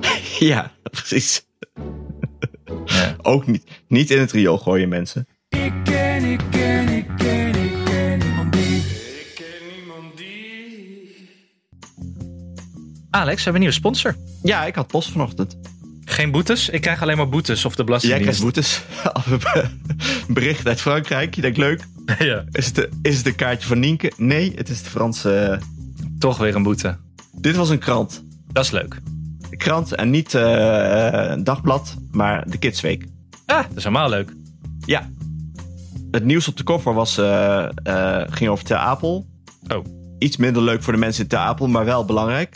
Speaker 2: Ja, precies.
Speaker 1: Ja.
Speaker 2: Ook niet, niet in het riool gooien, mensen.
Speaker 6: Ik ken, ik ken, ik ken, ik ken niemand die. Ik ken niemand die.
Speaker 1: Alex, we hebben een nieuwe sponsor.
Speaker 2: Ja, ik had post vanochtend.
Speaker 1: Geen boetes? Ik krijg alleen maar boetes of de
Speaker 2: Jij
Speaker 1: belastingdienst.
Speaker 2: krijgt boetes. Bericht uit Frankrijk. Je denkt, leuk.
Speaker 1: ja.
Speaker 2: Is het, de- is het een kaartje van Nienke? Nee, het is de Franse... eh,
Speaker 1: Toch weer een boete.
Speaker 2: Dit was een krant.
Speaker 1: Dat is leuk.
Speaker 2: krant en niet eh, een dagblad, maar de Kidsweek.
Speaker 1: Ah, dat is helemaal leuk.
Speaker 2: Ja. Het nieuws op de koffer was, eh, eh, ging over Ter Apel.
Speaker 1: Oh.
Speaker 2: Iets minder leuk voor de mensen in Ter Apel, maar wel belangrijk.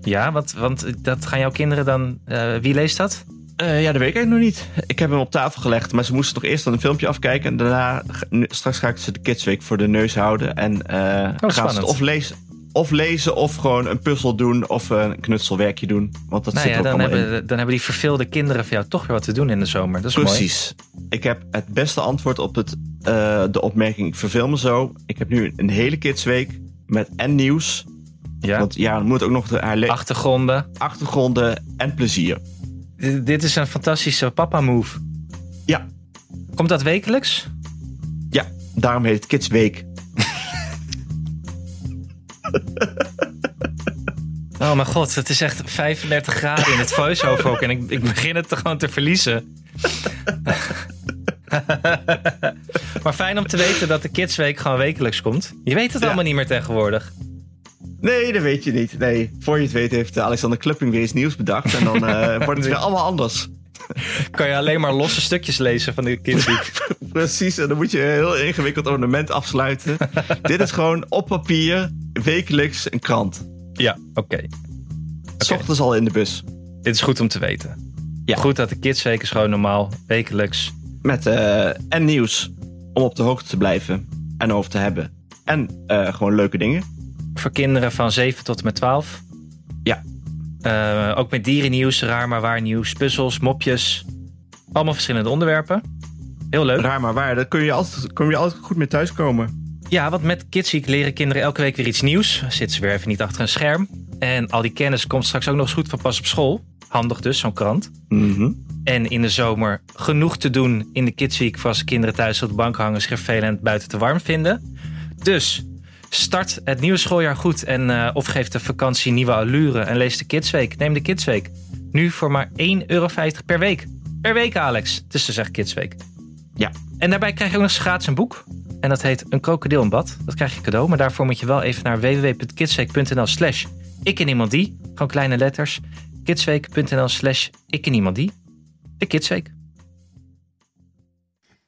Speaker 1: Ja, want, want dat gaan jouw kinderen dan. eh, wie leest dat?
Speaker 2: Eh, ja, dat weet ik eigenlijk nog niet. Ik heb hem op tafel gelegd, maar ze moesten toch eerst dan een filmpje afkijken. En daarna, ge- nu- straks ga ik ze de Kidsweek voor de neus houden. En eh, gaan ze
Speaker 1: spannend.
Speaker 2: het of lezen, of lezen of gewoon een puzzel doen of een knutselwerkje doen. Want dat
Speaker 1: Nou
Speaker 2: zit
Speaker 1: ja,
Speaker 2: er ook
Speaker 1: dan
Speaker 2: allemaal in.
Speaker 1: hebben, dan hebben die verveelde kinderen van jou toch weer wat te doen in de zomer. Dat is mooi.
Speaker 2: Precies. Ik heb het beste antwoord op het, eh, de opmerking: ik verveel me zo. Ik heb nu een hele kidsweek. Met en nieuws.
Speaker 1: Ja.
Speaker 2: Want ja, er moet ook nog de, haar le-
Speaker 1: Achtergronden.
Speaker 2: achtergronden en plezier.
Speaker 1: D- dit is een fantastische papa-move.
Speaker 2: Ja.
Speaker 1: Komt dat wekelijks?
Speaker 2: Ja, daarom heet het Kids Week.
Speaker 1: Oh mijn god, het is echt 35 graden in het voice-over ook. En ik, ik begin het te- gewoon te verliezen. maar fijn om te weten dat de Kidsweek gewoon wekelijks komt. Je weet het
Speaker 2: Ja.
Speaker 1: allemaal niet meer tegenwoordig.
Speaker 2: Nee, dat weet je niet. Nee, voor je het weet heeft eh, Alexander Klupping weer iets nieuws bedacht. En dan eh, wordt het weer allemaal anders.
Speaker 1: Kan je alleen maar losse stukjes lezen van de Kidsweek.
Speaker 2: Precies, en dan moet je een heel ingewikkeld ornament afsluiten. Dit is gewoon op papier, wekelijks een krant.
Speaker 1: Ja, oké.
Speaker 2: S ochtends al in de bus.
Speaker 1: Dit is goed om te weten.
Speaker 2: Ja.
Speaker 1: Goed dat de Kidsweek is gewoon normaal, wekelijks.
Speaker 2: Met eh, en nieuws. Om op de hoogte te blijven en over te hebben. En eh, gewoon leuke dingen.
Speaker 1: Voor kinderen van 7 tot en met 12.
Speaker 2: Ja.
Speaker 1: Eh, ook met dierennieuws, raar maar waar nieuws, puzzels, mopjes. Allemaal verschillende onderwerpen. Heel leuk.
Speaker 2: Raar maar waar, daar kun je altijd, kun je altijd goed mee thuiskomen.
Speaker 1: Ja, want met Kidsweek leren kinderen elke week weer iets nieuws. Zitten ze weer even niet achter een scherm. En al die kennis komt straks ook nog eens goed van pas op school. Handig dus, zo'n krant.
Speaker 2: Mhm.
Speaker 1: En in de zomer genoeg te doen in de Kidsweek voor als de kinderen thuis op de bank hangen, zich vervelen en het buiten te warm vinden. Dus start het nieuwe schooljaar goed en eh, of geef de vakantie nieuwe allure en lees de Kidsweek. Neem de Kidsweek. Nu voor maar 1,50 euro per week. Per week, Alex. Het is dus echt Kidsweek.
Speaker 2: Ja.
Speaker 1: En daarbij krijg je ook nog eens gratis een boek. En dat heet Een krokodil in bad. Dat krijg je cadeau. Maar daarvoor moet je wel even naar www.kidsweek.nl slash ik en iemand die. Gewoon kleine letters. Kidsweek.nl slash ik en iemand die. De Kidsweek.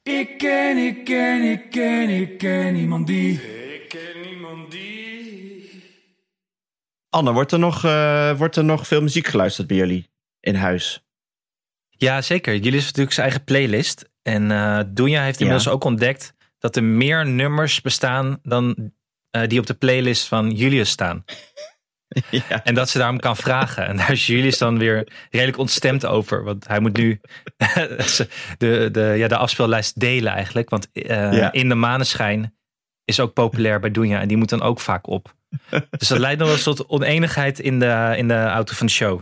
Speaker 6: Ik ken, ik ken, ik ken, ik ken niemand die. Ik ken niemand die.
Speaker 2: Anne, wordt er, nog, eh, wordt er nog veel muziek geluisterd bij jullie in huis?
Speaker 1: Ja, zeker. Jullie hebben natuurlijk zijn eigen playlist. En eh Doenja heeft
Speaker 2: Ja.
Speaker 1: inmiddels ook ontdekt dat er meer nummers bestaan dan eh, die op de playlist van Julius staan.
Speaker 2: Ja.
Speaker 1: En dat ze daarom kan vragen. En daar is Julius dan weer redelijk ontstemd over. Want hij moet nu de, de, ja, de afspeellijst delen eigenlijk. Want eh,
Speaker 2: Ja.
Speaker 1: In de Maneschijn is ook populair bij Doenja. En die moet dan ook vaak op. Dus dat leidt nog wel eens tot oneenigheid in de, in de auto van de show.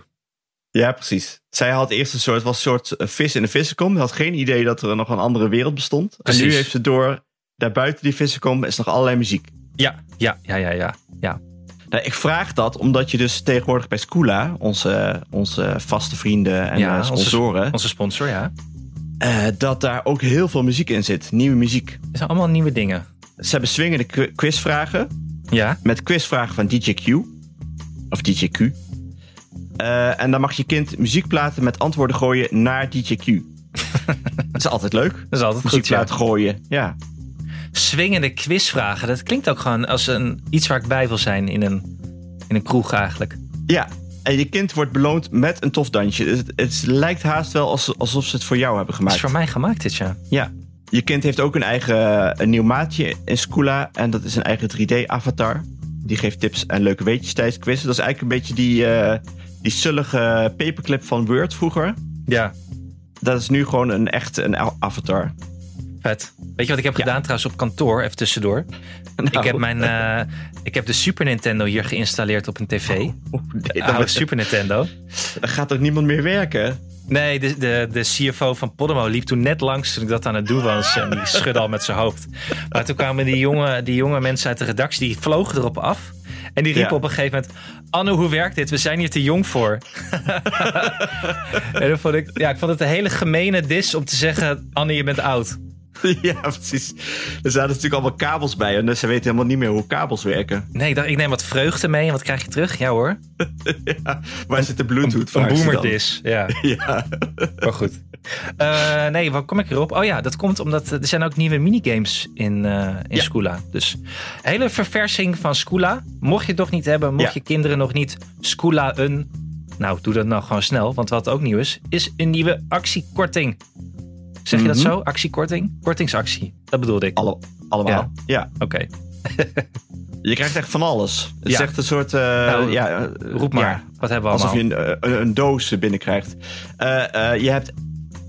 Speaker 2: Ja, precies. Zij had eerst een soort, was een soort eh, vis in een vissenkom. Ze had geen idee dat er nog een andere wereld bestond. En nu
Speaker 1: Precies.
Speaker 2: heeft ze door, daar buiten die vissenkom is nog allerlei muziek.
Speaker 1: Ja, ja, ja, ja, ja. ja.
Speaker 2: Nou, ik vraag dat omdat je dus tegenwoordig bij Skoola, onze, onze vaste vrienden en
Speaker 1: Ja,
Speaker 2: eh, sponsoren,
Speaker 1: Onze sponsor, ja.
Speaker 2: eh, dat daar ook heel veel muziek in zit. Nieuwe muziek.
Speaker 1: Het zijn allemaal nieuwe dingen.
Speaker 2: Ze hebben swingende qu- quizvragen
Speaker 1: Ja,
Speaker 2: met quizvragen van DJ Q. Of DJ Q. Eh, en dan mag je kind muziekplaten met antwoorden gooien naar DJ Q. dat is altijd leuk.
Speaker 1: dat is altijd goed. Ja.
Speaker 2: Muziekplaat gooien. Ja.
Speaker 1: Swingende quizvragen. Dat klinkt ook gewoon als een, iets waar ik bij wil zijn in een, in een kroeg eigenlijk.
Speaker 2: ja. En je kind wordt beloond met een tof dansje. Dus Het, het lijkt haast wel als- alsof ze het voor jou hebben
Speaker 1: Dat
Speaker 2: gemaakt.
Speaker 1: is voor mij gemaakt dit jaar.
Speaker 2: Ja. Je kind heeft ook een eigen eh, een nieuw maatje in Skoola. En dat is een eigen 3D-avatar. Die geeft tips en leuke weetjes tijdens quizzen. Dat is eigenlijk een beetje die, eh, die zullige paperclip van Word vroeger.
Speaker 1: Ja,
Speaker 2: Dat is nu gewoon een echt een a- avatar.
Speaker 1: vet. Nou. Weet je wat ik heb gedaan trouwens op kantoor, even tussendoor? Ik, heb mijn, eh, ik heb de Super Nintendo hier geïnstalleerd op een tv.
Speaker 2: Nee,
Speaker 1: De
Speaker 2: dan,
Speaker 1: oude Super Nintendo.
Speaker 2: dan gaat ook niemand meer werken.
Speaker 1: Nee, de, de, de CFO van Podemo liep toen net langs toen ik dat aan het doen was. En die schudde al met zijn hoofd. Maar toen kwamen die jonge, die jonge mensen uit de redactie, die vlogen erop af. En die riepen
Speaker 2: Ja.
Speaker 1: op een gegeven moment... Anne, hoe werkt dit? We zijn hier te jong voor. en dan vond ik, ja, ik vond het een hele gemene dis om te zeggen... Anne, je bent oud.
Speaker 2: ja, precies. Er zaten natuurlijk allemaal kabels bij. En dus ze weten helemaal niet meer hoe kabels werken.
Speaker 1: Nee, ik dacht, ik neem wat vreugde mee. En wat krijg je terug? Ja hoor,
Speaker 2: Ja, waar zit de Bluetooth van?
Speaker 1: een boomerdis. Ja.
Speaker 2: Ja.
Speaker 1: Maar goed. Eh, nee, waar kom ik erop? Oh ja, dat komt omdat eh, er zijn ook nieuwe minigames in, eh in
Speaker 2: Ja.
Speaker 1: Scoola. Dus hele verversing van Scoola. Mocht je het toch niet hebben, mocht
Speaker 2: Ja.
Speaker 1: je kinderen nog niet Scoola een... Nou, doe dat nou gewoon snel, want wat ook nieuw is, is een nieuwe actiekorting. Zeg je
Speaker 2: Mhm.
Speaker 1: dat zo? Actiekorting? Kortingsactie. Dat bedoelde ik. Oké.
Speaker 2: Alle, allemaal. ja. Je krijgt echt van alles. Het is
Speaker 1: Ja.
Speaker 2: echt een soort. eh,
Speaker 1: Nou,
Speaker 2: ja, eh,
Speaker 1: Roep maar.
Speaker 2: ja,
Speaker 1: Wat hebben we
Speaker 2: alsof
Speaker 1: allemaal?
Speaker 2: je een, eh, een, een doos binnenkrijgt. Eh, eh, je hebt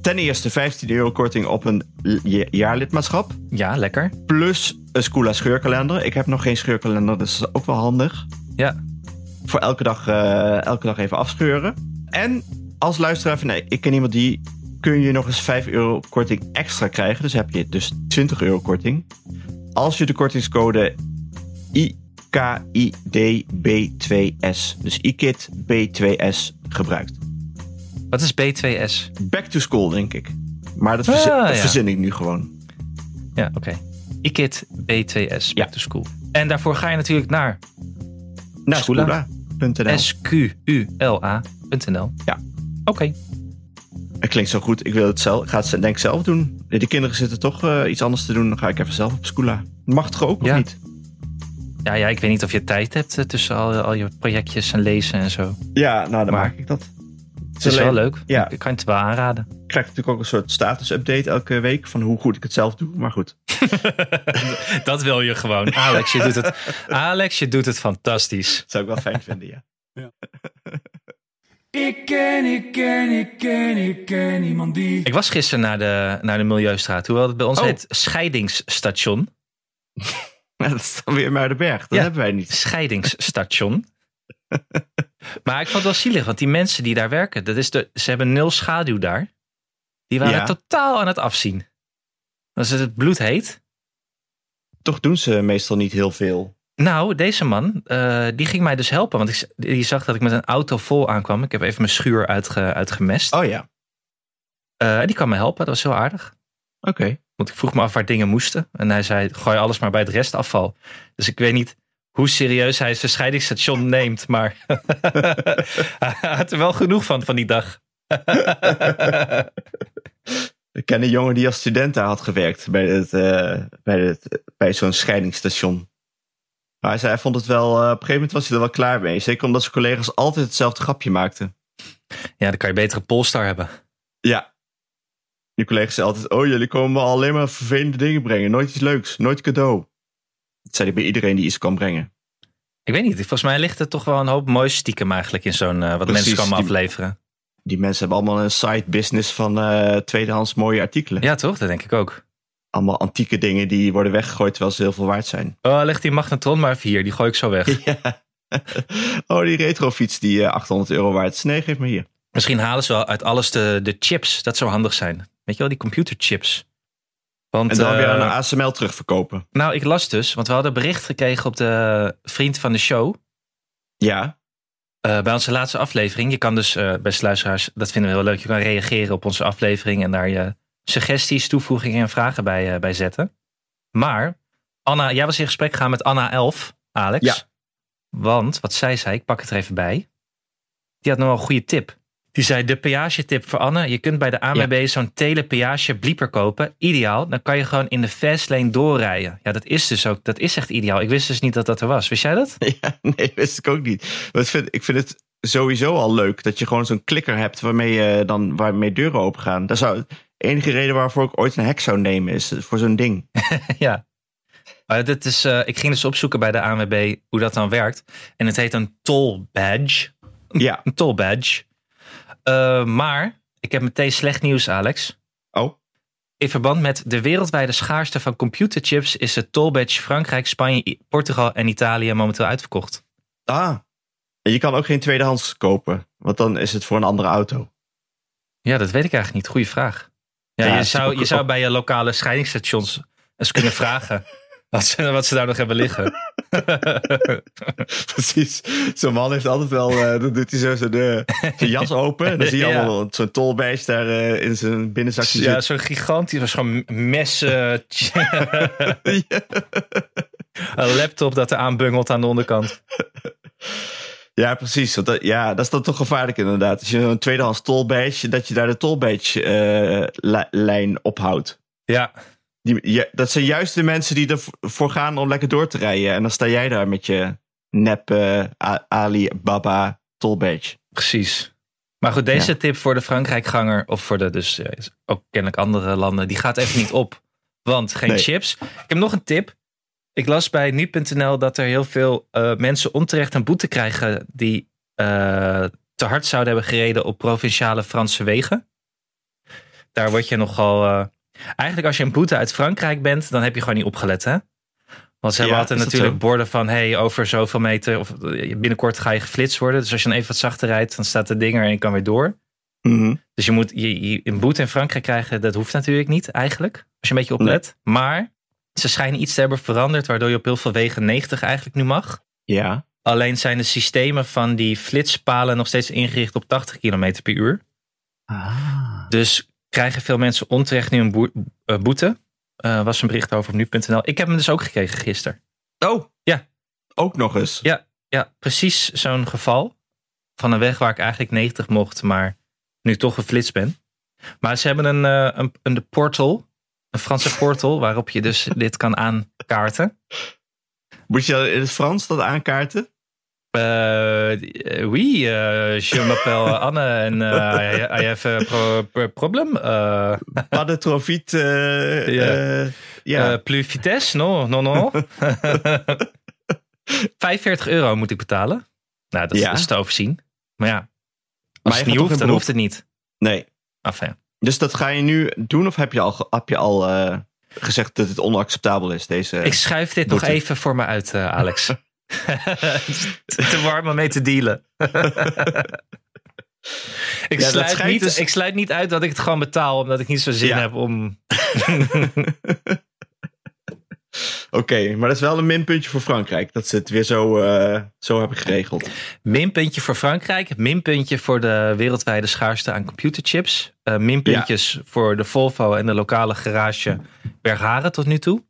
Speaker 2: ten eerste 15 euro korting op een l- ja- jaarlidmaatschap.
Speaker 1: Ja, lekker.
Speaker 2: Plus een Scula scheurkalender. Ik heb nog geen scheurkalender, dus dat is ook wel handig.
Speaker 1: Ja.
Speaker 2: Voor elke dag, eh, elke dag even afscheuren. En als luisteraar van nee, ik ken iemand die... kun je nog eens 5 euro korting extra krijgen. Dus heb je dus 20 euro korting. Als je de kortingscode IKIDB2S, dus IKID B2S, gebruikt.
Speaker 1: Wat is B2S?
Speaker 2: Back to school, denk ik. Maar dat, verzin,
Speaker 1: Ah,
Speaker 2: dat
Speaker 1: ja.
Speaker 2: verzin ik nu gewoon.
Speaker 1: Ja, oké. IKIT B2S,
Speaker 2: Ja.
Speaker 1: Back to School. En daarvoor ga je natuurlijk naar
Speaker 2: Naar
Speaker 1: Scula.
Speaker 2: Scula.nl.
Speaker 1: squla.nl.
Speaker 2: Ja.
Speaker 1: Oké.
Speaker 2: Het klinkt zo goed. Ik wil het zelf, ik ga het denk ik zelf doen. De kinderen zitten toch eh, iets anders te doen. Dan ga ik even zelf op Scula. Mag toch ook, of
Speaker 1: Ja.
Speaker 2: niet?
Speaker 1: Ja, ja, ik weet niet of je tijd hebt eh, tussen al, al je projectjes en lezen en zo.
Speaker 2: Ja, nou dan
Speaker 1: Maar-
Speaker 2: maak ik dat.
Speaker 1: Het is wel leuk.
Speaker 2: Ja.
Speaker 1: Ik kan het wel aanraden.
Speaker 2: Ik krijg natuurlijk ook een soort status-update elke week... van hoe goed ik het zelf doe. Maar goed.
Speaker 1: Dat wil je gewoon. Alex, je doet het, Alex, je doet het fantastisch.
Speaker 2: Dat zou ik wel fijn vinden, ja.
Speaker 6: Ik ken, ik ken, ik ken, ik ken iemand die.
Speaker 1: Ik was gisteren naar de, naar de Milieustraat. Hoewel het bij ons
Speaker 2: Oh.
Speaker 1: heet scheidingsstation.
Speaker 2: Maar dat is dan weer Muidenberg. Dat
Speaker 1: Ja.
Speaker 2: hebben wij niet.
Speaker 1: Scheidingsstation. maar ik vond het wel zielig, want die mensen die daar werken, dat is de, ze hebben nul schaduw daar. Die waren
Speaker 2: Ja.
Speaker 1: totaal aan het afzien. Als het bloed heet.
Speaker 2: Toch doen ze meestal niet heel veel.
Speaker 1: Nou, deze man, eh, die ging mij dus helpen. Want ik, z- die zag dat ik met een auto vol aankwam. Ik heb even mijn schuur uitge, uitgemest.
Speaker 2: Oh ja,
Speaker 1: Eh, en die kwam me helpen, dat was heel aardig.
Speaker 2: oké.
Speaker 1: Want ik vroeg me af waar dingen moesten. En hij zei, gooi alles maar bij het restafval. Dus ik weet niet hoe serieus hij het verscheidingsstation neemt. Maar hij had er wel genoeg van, van die dag.
Speaker 2: Ik ken een jongen die als student daar had gewerkt bij, het, eh, bij, het, bij zo'n scheidingsstation. Maar hij zei, hij vond het wel, eh, op een gegeven moment was hij er wel klaar mee. Zeker omdat zijn collega's altijd hetzelfde grapje maakten.
Speaker 1: Ja, dan kan je beter een Polestar hebben.
Speaker 2: Ja. Je collega's zeiden altijd, oh jullie komen wel alleen maar vervelende dingen brengen. Nooit iets leuks, nooit cadeau. Dat zei hij bij iedereen die iets kan brengen.
Speaker 1: Ik weet niet, volgens mij ligt er toch wel een hoop moois stiekem eigenlijk in zo'n... eh, wat
Speaker 2: Precies,
Speaker 1: mensen kan me
Speaker 2: die-
Speaker 1: afleveren.
Speaker 2: Die mensen hebben allemaal een side business van eh, tweedehands mooie artikelen.
Speaker 1: Ja toch, dat denk ik ook.
Speaker 2: Allemaal antieke dingen die worden weggegooid terwijl ze heel veel waard zijn.
Speaker 1: Oh, leg die magnetron maar even hier, die gooi ik zo weg.
Speaker 2: Ja. oh, die retrofiets die eh, 800 euro waard is. Nee, geef me hier.
Speaker 1: Misschien halen ze wel uit alles de, de chips. Dat zou handig zijn. Weet je wel, die computerchips. Want,
Speaker 2: En dan
Speaker 1: eh,
Speaker 2: weer aan ASML terugverkopen.
Speaker 1: Nou, ik las dus, want we hadden bericht gekregen op de vriend van de show.
Speaker 2: Ja,
Speaker 1: eh, bij onze laatste aflevering. Je kan dus, eh beste luisteraars, dat vinden we heel leuk. Je kan reageren op onze aflevering en daar je suggesties, toevoegingen en vragen bij, eh, bij zetten. Maar, Anna, jij was in gesprek gegaan met Anna Elf, Alex.
Speaker 2: Ja.
Speaker 1: Want, wat zij zei, ik pak het er even bij. Die had nog wel een goede tip. Die zei, de peagetip voor Anne. Je kunt bij de ANWB zo'n telepeage blieper kopen. Ideaal. Dan kan je gewoon in de fastlane doorrijden. Ja, dat is dus ook, dat is echt ideaal. Ik wist dus niet dat dat er was. Wist jij dat?
Speaker 2: ja nee, wist ik ook niet. Maar het vind- ik vind het sowieso al leuk dat je gewoon zo'n klikker hebt waarmee, je dan, waarmee deuren open gaan. Dat zou, de enige reden waarvoor ik ooit een hek zou nemen is voor zo'n ding.
Speaker 1: Ja. Maar dit is, eh, ik ging dus opzoeken bij de ANWB hoe dat dan werkt. En het heet een toll badge.
Speaker 2: Ja,
Speaker 1: Een toll badge. Eh, maar ik heb meteen slecht nieuws, Alex.
Speaker 2: oh,
Speaker 1: In verband met de wereldwijde schaarste van computerchips is de toll badge Frankrijk, Spanje, I- Portugal en Italië momenteel uitverkocht.
Speaker 2: ah. En je kan ook geen tweedehands kopen, want dan is het voor een andere auto.
Speaker 1: Ja, dat weet ik eigenlijk niet. Goeie vraag. Ja,
Speaker 2: Ja,
Speaker 1: je,
Speaker 2: het is
Speaker 1: zou,
Speaker 2: ook-
Speaker 1: je zou bij je lokale scheidingsstations eens kunnen vragen wat ze, wat ze daar nog hebben liggen.
Speaker 2: Precies. Zo'n man heeft altijd wel, eh, dan doet hij zo zijn, eh, zijn jas open. En dan zie je
Speaker 1: Ja.
Speaker 2: allemaal zo'n tolbeest daar eh, in zijn binnenzakje
Speaker 1: Ja,
Speaker 2: zitten.
Speaker 1: zo'n eh, gigantisch, was gewoon messen, een laptop dat er aanbungelt aan de onderkant.
Speaker 2: Ja, precies. Want dat, ja, dat is dan toch gevaarlijk inderdaad. Als je een tweedehands tolbadge, dat je daar de tolbadge-lijn ophoudt.
Speaker 1: Ja,
Speaker 2: Die, ja, dat zijn juist de mensen die ervoor gaan om lekker door te rijden. En dan sta jij daar met je nep eh, A- Alibaba tolbadge.
Speaker 1: precies. Maar goed, deze tip voor de Frankrijkganger of voor de dus eh, ook kennelijk andere landen, die gaat even niet op. Want geen
Speaker 2: Nee.
Speaker 1: chips. Ik heb nog een tip. Ik las bij nu.nl dat er heel veel eh, mensen onterecht een boete krijgen die eh, te hard zouden hebben gereden op provinciale Franse wegen. Daar word je nogal... eh, Eigenlijk als je een boete uit Frankrijk bent, dan heb je gewoon niet opgelet, hè? Want ze hebben
Speaker 2: Ja,
Speaker 1: altijd
Speaker 2: is dat
Speaker 1: natuurlijk
Speaker 2: zo?
Speaker 1: borden van... hey, over zoveel meter of eh, binnenkort ga je geflitst worden. Dus als je dan even wat zachter rijdt, dan staat de ding er en je kan weer door.
Speaker 2: Mhm.
Speaker 1: Dus je moet je, je- een boete in Frankrijk krijgen, dat hoeft natuurlijk niet eigenlijk. Als je een beetje oplet. Maar ze schijnen iets te hebben veranderd, waardoor je op heel veel wegen 90 eigenlijk nu mag.
Speaker 2: Ja.
Speaker 1: Alleen zijn de systemen van die flitspalen nog steeds ingericht op 80 km per uur.
Speaker 2: Ah.
Speaker 1: Dus krijgen veel mensen onterecht nu een boe- eh, boete. Eh, was een bericht over op nu.nl. Ik heb hem dus ook gekregen gisteren.
Speaker 2: Oh.
Speaker 1: Ja.
Speaker 2: Ook nog eens.
Speaker 1: Ja. Ja, precies zo'n geval. Van een weg waar ik eigenlijk 90 mocht, maar nu toch geflitst ben. Maar ze hebben een, eh, een, een de portal, een Franse portal, waarop je dus dit kan aankaarten.
Speaker 2: Moet je dat in het Frans dat aankaarten?
Speaker 1: Eh, eh, oui, eh, je m'appelle Anne en eh, I- I have a pro- pro- problem. Eh,
Speaker 2: Paddetrofiet. eh
Speaker 1: Ja.
Speaker 2: eh, ja.
Speaker 1: Eh, plus vitesse, no, no, no. 45 euro moet ik betalen. Nou, dat,
Speaker 2: Ja.
Speaker 1: dat is te overzien. Maar ja,
Speaker 2: Maar
Speaker 1: als
Speaker 2: je
Speaker 1: het niet
Speaker 2: gaat toch in
Speaker 1: hoeft, dan
Speaker 2: beroep?
Speaker 1: hoeft het niet.
Speaker 2: nee.
Speaker 1: Enfin,
Speaker 2: Dus dat ga je nu doen of heb je al, ge- heb je al eh, gezegd dat het onacceptabel is? Deze...
Speaker 1: ik schuif dit nog
Speaker 2: Boete.
Speaker 1: even voor me uit, eh, Alex. Het is te warm om mee te dealen. ik,
Speaker 2: dat
Speaker 1: sluit
Speaker 2: schijnt
Speaker 1: niet,
Speaker 2: dus-
Speaker 1: ik sluit niet uit dat ik het gewoon betaal, omdat ik niet zo zin
Speaker 2: Ja.
Speaker 1: heb om...
Speaker 2: Oké, maar dat is wel een minpuntje voor Frankrijk. Dat ze het weer zo, eh, zo hebben geregeld.
Speaker 1: Minpuntje voor Frankrijk, minpuntje voor de wereldwijde schaarste aan computerchips, eh, minpuntjes voor de Volvo en de lokale garage Bergharen tot nu toe.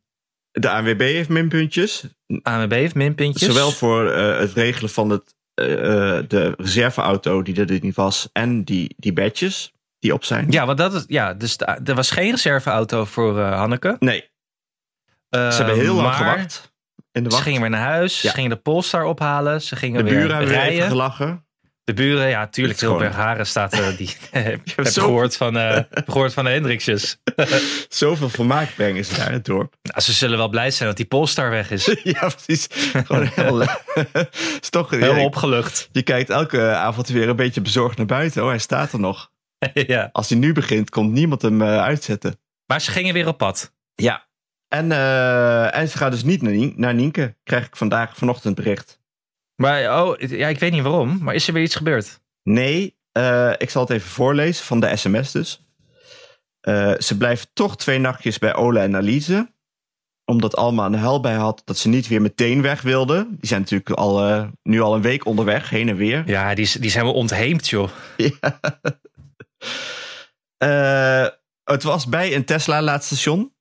Speaker 2: De ANWB heeft minpuntjes.
Speaker 1: AMB heeft minpuntjes.
Speaker 2: Zowel voor eh, het regelen van het, eh, eh, de reserveauto die er dus niet was. En die, die badges die op zijn.
Speaker 1: Ja, want dat is, ja, dus de- er was geen reserveauto voor eh, Hanneke.
Speaker 2: Nee,
Speaker 1: Eh,
Speaker 2: ze hebben heel lang
Speaker 1: maar
Speaker 2: gewacht. In de
Speaker 1: Ze
Speaker 2: wacht.
Speaker 1: gingen weer naar huis,
Speaker 2: Ja.
Speaker 1: ze gingen de Polestar ophalen, ze gingen
Speaker 2: de
Speaker 1: weer
Speaker 2: buren hebben weer
Speaker 1: rijden.
Speaker 2: even gelachen.
Speaker 1: de buren, ja, tuurlijk,
Speaker 2: Het is
Speaker 1: heel
Speaker 2: gewoon-
Speaker 1: Bergharen staat eh, die. heb heb
Speaker 2: zo-
Speaker 1: gehoord van, eh, heb gehoord van de Hendriksjes.
Speaker 2: Zoveel vermaak brengen ze daar in het dorp.
Speaker 1: Nou, ze zullen wel blij zijn dat die Polestar weg is.
Speaker 2: ja, precies. Gewoon heel... eh, is toch, ja,
Speaker 1: Heel
Speaker 2: ik-
Speaker 1: opgelucht.
Speaker 2: Je kijkt elke avond weer een beetje bezorgd naar buiten. Oh, hij staat er nog.
Speaker 1: ja.
Speaker 2: Als hij nu begint, komt niemand hem eh, uitzetten.
Speaker 1: Maar ze gingen weer op pad.
Speaker 2: Ja. En, eh, en ze gaat dus niet naar, Nien- naar Nienke. Krijg ik vandaag vanochtend bericht.
Speaker 1: Maar oh, ja, ik weet niet waarom, maar is er weer iets gebeurd?
Speaker 2: Nee, eh, ik zal het even voorlezen van de sms dus. Eh, ze blijft toch twee nachtjes bij Ola en Alize. Omdat Alma een huil bij had dat ze niet weer meteen weg wilde. Die zijn natuurlijk al, eh, nu al een week onderweg, heen en weer.
Speaker 1: Ja, die, is- die zijn wel ontheemd, joh.
Speaker 2: Ja. Eh, het was bij een Tesla laadstation.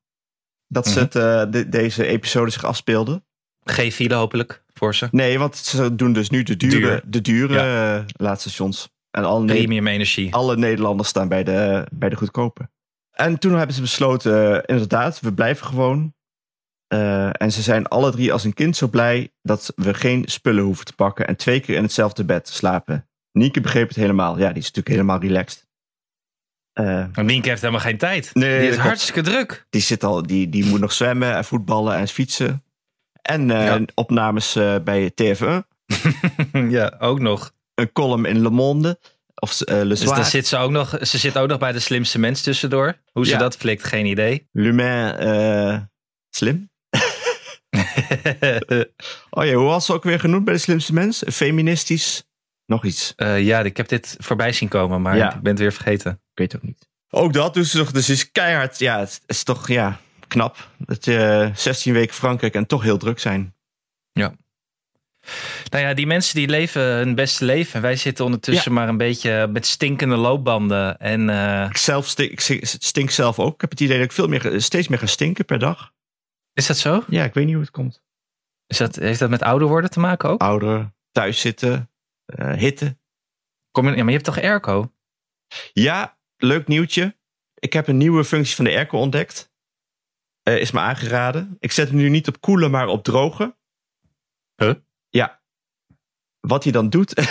Speaker 2: Dat ze
Speaker 1: Mhm.
Speaker 2: het, eh, de- deze episode zich afspeelde.
Speaker 1: Geen file hopelijk voor ze.
Speaker 2: Nee, want ze doen dus nu de dure,
Speaker 1: Duur.
Speaker 2: De dure eh, laadstations. En alle, Ne-
Speaker 1: Premium energie.
Speaker 2: alle Nederlanders staan bij de, bij de goedkope. En toen hebben ze besloten, eh, inderdaad, we blijven gewoon. Eh, en ze zijn alle drie als een kind zo blij dat we geen spullen hoeven te pakken en twee keer in hetzelfde bed te slapen. Nieke begreep het helemaal. Ja, die is natuurlijk helemaal relaxed. Eh,
Speaker 1: Want Nienke heeft helemaal geen tijd.
Speaker 2: Nee,
Speaker 1: die
Speaker 2: dat
Speaker 1: is
Speaker 2: klopt.
Speaker 1: hartstikke druk.
Speaker 2: die, zit al, die, die moet nog zwemmen en voetballen en fietsen. En eh,
Speaker 1: Ja.
Speaker 2: opnames eh, bij TF1.
Speaker 1: ja, ook nog.
Speaker 2: Een column in Le Monde. Of eh Le
Speaker 1: Dus dan
Speaker 2: Soir.
Speaker 1: zit ze ook nog, ze zit ook nog bij de slimste mens tussendoor. Hoe ze
Speaker 2: Ja.
Speaker 1: dat flikt, geen idee.
Speaker 2: Lumain eh, slim. Oh ja, hoe was ze ook weer genoemd bij de slimste mens? Feministisch. Nog iets.
Speaker 1: Eh, ja, ik heb dit voorbij zien komen, maar
Speaker 2: Ja.
Speaker 1: ik ben het weer vergeten.
Speaker 2: Ik weet het ook niet. Ook dat doet ze toch. Dus ze is keihard. Ja, het is toch ja, knap. Dat je 16 weken Frankrijk en toch heel druk zijn.
Speaker 1: Nou ja, die mensen die leven hun beste leven. En wij zitten ondertussen maar een beetje met stinkende loopbanden. En eh,
Speaker 2: Ik, zelf stink, ik stink- stink zelf ook. Ik heb het idee dat ik veel meer, ga- steeds meer ga stinken per dag.
Speaker 1: is dat zo?
Speaker 2: Ja, ik weet niet hoe het komt.
Speaker 1: Is dat, heeft dat met ouder worden te maken ook?
Speaker 2: Ouder, thuis zitten, eh, hitte.
Speaker 1: Kom je, ja, maar je hebt toch airco?
Speaker 2: Ja, leuk nieuwtje. Ik heb een nieuwe functie van de airco ontdekt. Eh, is me aangeraden. Ik zet hem nu niet op koelen, maar op drogen.
Speaker 1: Huh?
Speaker 2: Ja. Wat hij dan doet.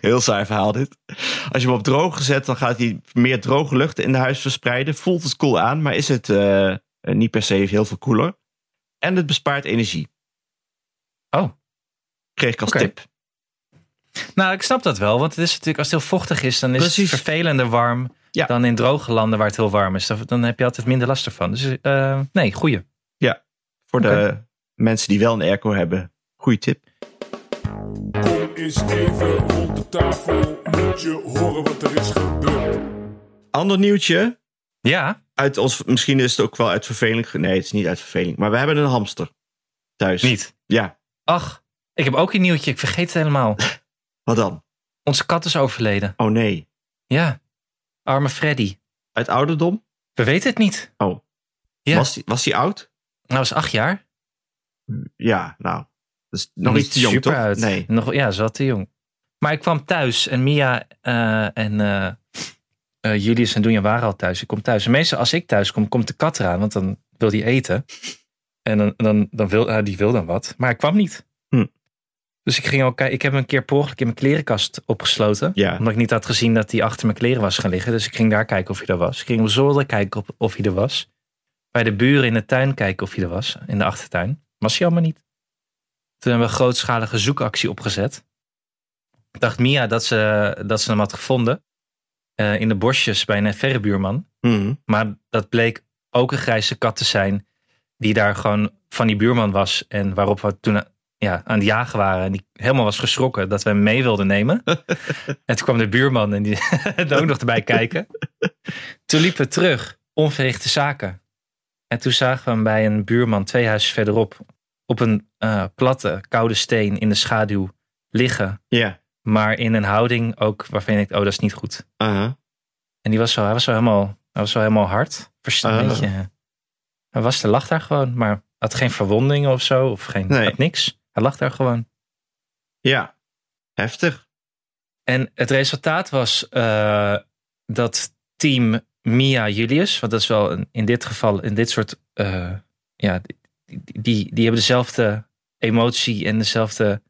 Speaker 2: heel saai verhaal dit. Als je hem op drogen zet, dan gaat hij meer droge lucht in de huis verspreiden. Voelt het koel aan, maar is het eh, eh, niet per se heel veel koeler. En het bespaart energie.
Speaker 1: Oh.
Speaker 2: Kreeg ik als
Speaker 1: Oké.
Speaker 2: tip.
Speaker 1: Nou, ik snap dat wel, want het is natuurlijk als het heel vochtig is, dan is
Speaker 2: Precies.
Speaker 1: het vervelender warm.
Speaker 2: Ja.
Speaker 1: dan in droge landen waar het heel warm is. Dan- Dan heb je altijd minder last ervan. Dus eh, nee, goeie.
Speaker 2: Voor de mensen die wel een airco hebben, goede tip.
Speaker 6: Kom eens even rond de tafel, moet je horen wat er is gebeurd.
Speaker 2: Ander nieuwtje.
Speaker 1: Ja,
Speaker 2: Uit ons, misschien is het ook wel uit verveling. ge- Nee, het is niet uit verveling. Maar we hebben een hamster thuis.
Speaker 1: niet.
Speaker 2: Ja,
Speaker 1: Ach, ik heb ook een nieuwtje. Ik vergeet het helemaal.
Speaker 2: wat dan?
Speaker 1: Onze kat is overleden.
Speaker 2: Oh nee.
Speaker 1: Ja, arme Freddy.
Speaker 2: Uit ouderdom?
Speaker 1: We weten het niet.
Speaker 2: Oh.
Speaker 1: Ja.
Speaker 2: Was, die, was die oud?
Speaker 1: Hij was acht jaar.
Speaker 2: Ja, nou. Dat is nog niet te jong,
Speaker 1: super
Speaker 2: toch?
Speaker 1: uit.
Speaker 2: Nee.
Speaker 1: Nog, ja, ze was te jong. Maar ik kwam thuis en Mia eh, en eh, eh, Julius en Doenja waren al thuis. Ik kom thuis. En meestal als ik thuis kom, komt de kat eraan, want dan wil die eten. En dan, dan, dan wil hij die wil dan wat. Maar hij kwam niet.
Speaker 2: Hm.
Speaker 1: Dus ik ging al kijken. Ik heb hem een keer per ongeluk in mijn klerenkast opgesloten.
Speaker 2: Ja.
Speaker 1: Omdat ik niet had gezien dat hij achter mijn kleren was gaan liggen. Dus ik ging daar kijken of hij er was. Ik ging op zolder kijken of, of hij er was. Bij de buren in de tuin kijken of hij er was. In de achtertuin. Was hij allemaal niet. Toen hebben we een grootschalige zoekactie opgezet. Ik dacht Mia dat ze, dat ze hem had gevonden. eh, in de bosjes bij een verre buurman.
Speaker 2: Mhm.
Speaker 1: Maar dat bleek ook een grijze kat te zijn. Die daar gewoon van die buurman was. En waarop we toen ja, aan het jagen waren. En die helemaal was geschrokken dat we hem mee wilden nemen. en toen kwam de buurman en die er ook nog erbij kijken. Toen liepen we terug. Onverrichte zaken. En toen zagen we hem bij een buurman twee huizen verderop. Op een eh, platte, koude steen in de schaduw liggen.
Speaker 2: Ja.
Speaker 1: Maar in een houding ook waarvan ik, oh dat is niet goed.
Speaker 2: aha.
Speaker 1: En die was zo, hij was zo helemaal, hij was zo helemaal hard. Verstaan,
Speaker 2: Ah.
Speaker 1: weet je. Hij was, hij lag daar gewoon, maar had geen verwondingen of zo, of geen,
Speaker 2: Nee.
Speaker 1: had niks. Hij lag daar gewoon.
Speaker 2: Ja. Heftig.
Speaker 1: En het resultaat was eh, dat team Mia Julius, want dat is wel een, in dit geval, in dit soort, eh, ja, die, die, die hebben dezelfde emotie en dezelfde